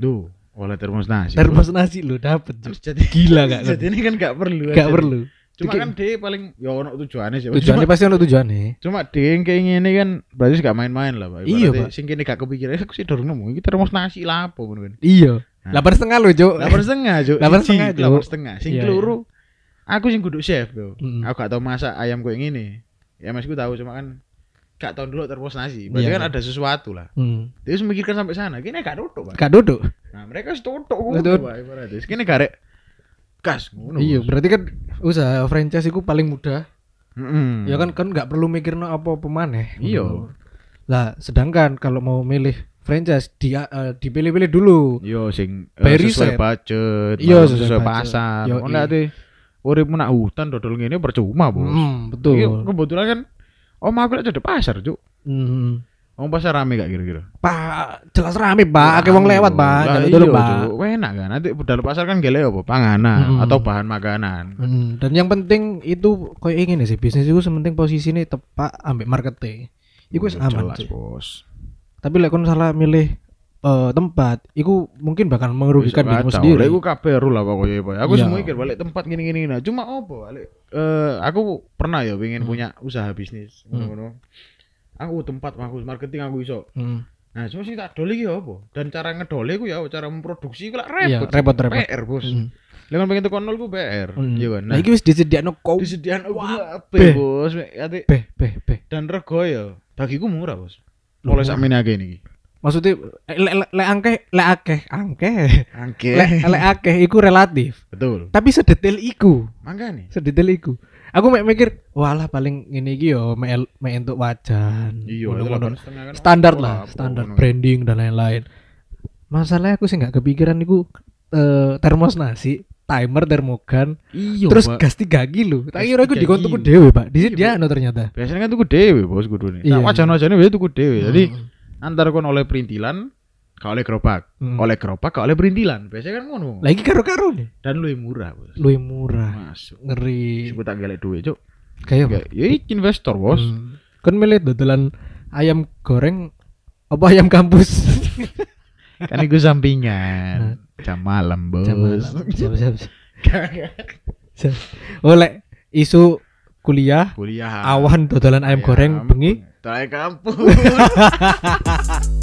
Speaker 3: Duh, oleh termos nasi. Bos.
Speaker 1: Termos nasi lo dapat, Juk.
Speaker 3: Terus jadi
Speaker 1: Gila gak?
Speaker 3: jadi ini kan gak perlu.
Speaker 1: Gak
Speaker 3: aja.
Speaker 1: perlu.
Speaker 3: Cuma
Speaker 1: Dikit.
Speaker 3: kan dia paling ya ono tujuannya sih. Bos.
Speaker 1: Tujuannya pasti untuk tujuannya.
Speaker 3: Cuma dia yang kayak gini kan berarti gak main-main lah pak.
Speaker 1: Iya,
Speaker 3: Ibaratnya
Speaker 1: Pak.
Speaker 3: Sing kini gak kepikiran, "Eh, aku sih dorong nemu. Ini termos nasi lah apa ngono kan.
Speaker 1: Iya.
Speaker 3: Nah.
Speaker 1: Delapan setengah lo, Cuk.
Speaker 3: Delapan setengah cuk.
Speaker 1: Delapan
Speaker 3: Siji,
Speaker 1: Oh, iya. setengah, Cuk.
Speaker 3: Delapan setengah. Sing
Speaker 1: Iya,
Speaker 3: keluru, aku sing kudu chef yo.
Speaker 1: Mm.
Speaker 3: Aku gak tau masak ayam kayak gini. Ya mas tahu cuma kan gak tau dulu termos nasi. Berarti
Speaker 1: Iya.
Speaker 3: kan ada sesuatu lah.
Speaker 1: Hmm.
Speaker 3: Dia harus memikirkan sampai sana. Kini gak tutup pak.
Speaker 1: Gak duduk.
Speaker 3: Nah mereka harus tutup
Speaker 1: Betul.
Speaker 3: ngono pak. Ibaratnya kini gak rek gas ngono.
Speaker 1: Iya, berarti kan usaha franchise itu paling mudah. Ya kan kan nggak perlu mikir apa pemaneh.
Speaker 3: Iya.
Speaker 1: Lah, sedangkan kalau mau milih franchise dia eh, dipilih-pilih dulu.
Speaker 3: Yo sing eh,
Speaker 1: By riset.
Speaker 3: sesuai budget,
Speaker 1: Iya,
Speaker 3: malah
Speaker 1: sesuai
Speaker 3: sesuai
Speaker 1: budget.
Speaker 3: pasar.
Speaker 1: Yo, iya.
Speaker 3: Ono ate uripmu nak hutan dodol ngene percuma, Bos.
Speaker 1: Hmm,
Speaker 3: Iki
Speaker 1: betul.
Speaker 3: kebetulan kan om aku lek cedek pasar, Cuk.
Speaker 1: Hmm.
Speaker 3: Om pasar rame gak kira-kira?
Speaker 1: Pak, jelas rame, Pak.
Speaker 3: Iya.
Speaker 1: Akeh wong lewat, Pak.
Speaker 3: Lah,
Speaker 1: Nggak
Speaker 3: iya,
Speaker 1: dulu, Pak.
Speaker 3: Cuk. Enak kan? Nanti budal pasar kan gele apa? Panganan
Speaker 1: Mm.
Speaker 3: atau bahan makanan.
Speaker 1: Hmm, dan yang penting itu koyo ingin sih bisnis itu sementing posisi ini tepat ambek marketing. Iku wis aman.
Speaker 3: Jelas,
Speaker 1: Cuk.
Speaker 3: Bos.
Speaker 1: Tapi lek kon salah milih eh, tempat, iku mungkin bakal merugikan
Speaker 3: Wis
Speaker 1: dirimu
Speaker 3: kacau.
Speaker 1: kan sendiri.
Speaker 3: Lek Aku kabeh ru lah pokoknya Pak. Aku
Speaker 1: Iya.
Speaker 3: semua mikir balik tempat gini-gini. Nah, cuma opo balik eh aku pernah ya
Speaker 1: Mm.
Speaker 3: pengen punya usaha bisnis ngono-ngono. Aku tempat aku marketing aku iso.
Speaker 1: Hmm.
Speaker 3: Nah, cuma sing tak dole iki ya apa? Dan cara ngedole ku ya cara memproduksi ku lah
Speaker 1: Iya, repot
Speaker 3: repot.
Speaker 1: repot.
Speaker 3: PR, Bos.
Speaker 1: Hmm.
Speaker 3: Lah kan pengen tekan nol ku PR.
Speaker 1: Hmm.
Speaker 3: Iya kan.
Speaker 1: Nah, iki wis disediakno kau.
Speaker 3: disediakan aku
Speaker 1: beh.
Speaker 3: apa, Bos? Ati
Speaker 1: Beh, beh, beh.
Speaker 3: dan rego ya. Bagiku murah, Bos.
Speaker 1: Loh,
Speaker 3: Oleh sakmene akeh niki.
Speaker 1: Maksudnya eh, lek lek- lek angke, lek akeh, angke. Lek
Speaker 3: Angke.
Speaker 1: lek akeh iku relatif.
Speaker 3: Betul.
Speaker 1: Tapi sedetail iku,
Speaker 3: Mangkane.
Speaker 1: sedetail iku. Aku mek mikir, walah paling ngene iki yo mek mek entuk wajan.
Speaker 3: Iya, itu
Speaker 1: Ngono-ngono.
Speaker 3: 8,5 kan.
Speaker 1: standar
Speaker 3: Ora
Speaker 1: lah,
Speaker 3: apa,
Speaker 1: standar
Speaker 3: ngono.
Speaker 1: branding dan lain-lain. Masalahnya aku sih nggak kepikiran iku eh, termos nasi, timer termogan,
Speaker 3: Iya,
Speaker 1: terus
Speaker 3: Pak.
Speaker 1: gas Iya, 3 kilo. Tak
Speaker 3: Gas
Speaker 1: kira aku
Speaker 3: 3
Speaker 1: dikontuku
Speaker 3: kilo.
Speaker 1: dhewe, Pak. Di dia no ternyata.
Speaker 3: biasanya kan tuku dewe bos kudune
Speaker 1: Iya.
Speaker 3: nah, wajan wajane biasanya tuku dewe Iya, jadi
Speaker 1: Hmm.
Speaker 3: antara kon oleh perintilan gak oleh gerobak
Speaker 1: Hmm.
Speaker 3: oleh gerobak gak oleh perintilan biasanya kan ngono
Speaker 1: Lagi karo-karo nih,
Speaker 3: dan lu murah bos
Speaker 1: luwih murah,
Speaker 3: masuk
Speaker 1: ngeri.
Speaker 3: sebut tak gelek duit cuk
Speaker 1: Kayak apa?
Speaker 3: Gak- ya iki investor bos
Speaker 1: Hmm. Kan milih dodolan ayam goreng apa ayam kampus?
Speaker 3: kan iku sampingan jam malam bos
Speaker 1: Hmm. Nah. Jam malam. Siap, siap, siap.
Speaker 3: Gak-
Speaker 1: Siap. Oleh Oh, isu kuliah
Speaker 3: kuliah
Speaker 1: Iya,
Speaker 3: Ya
Speaker 1: awan dodolan ayam goreng bengi
Speaker 3: terakhir kampus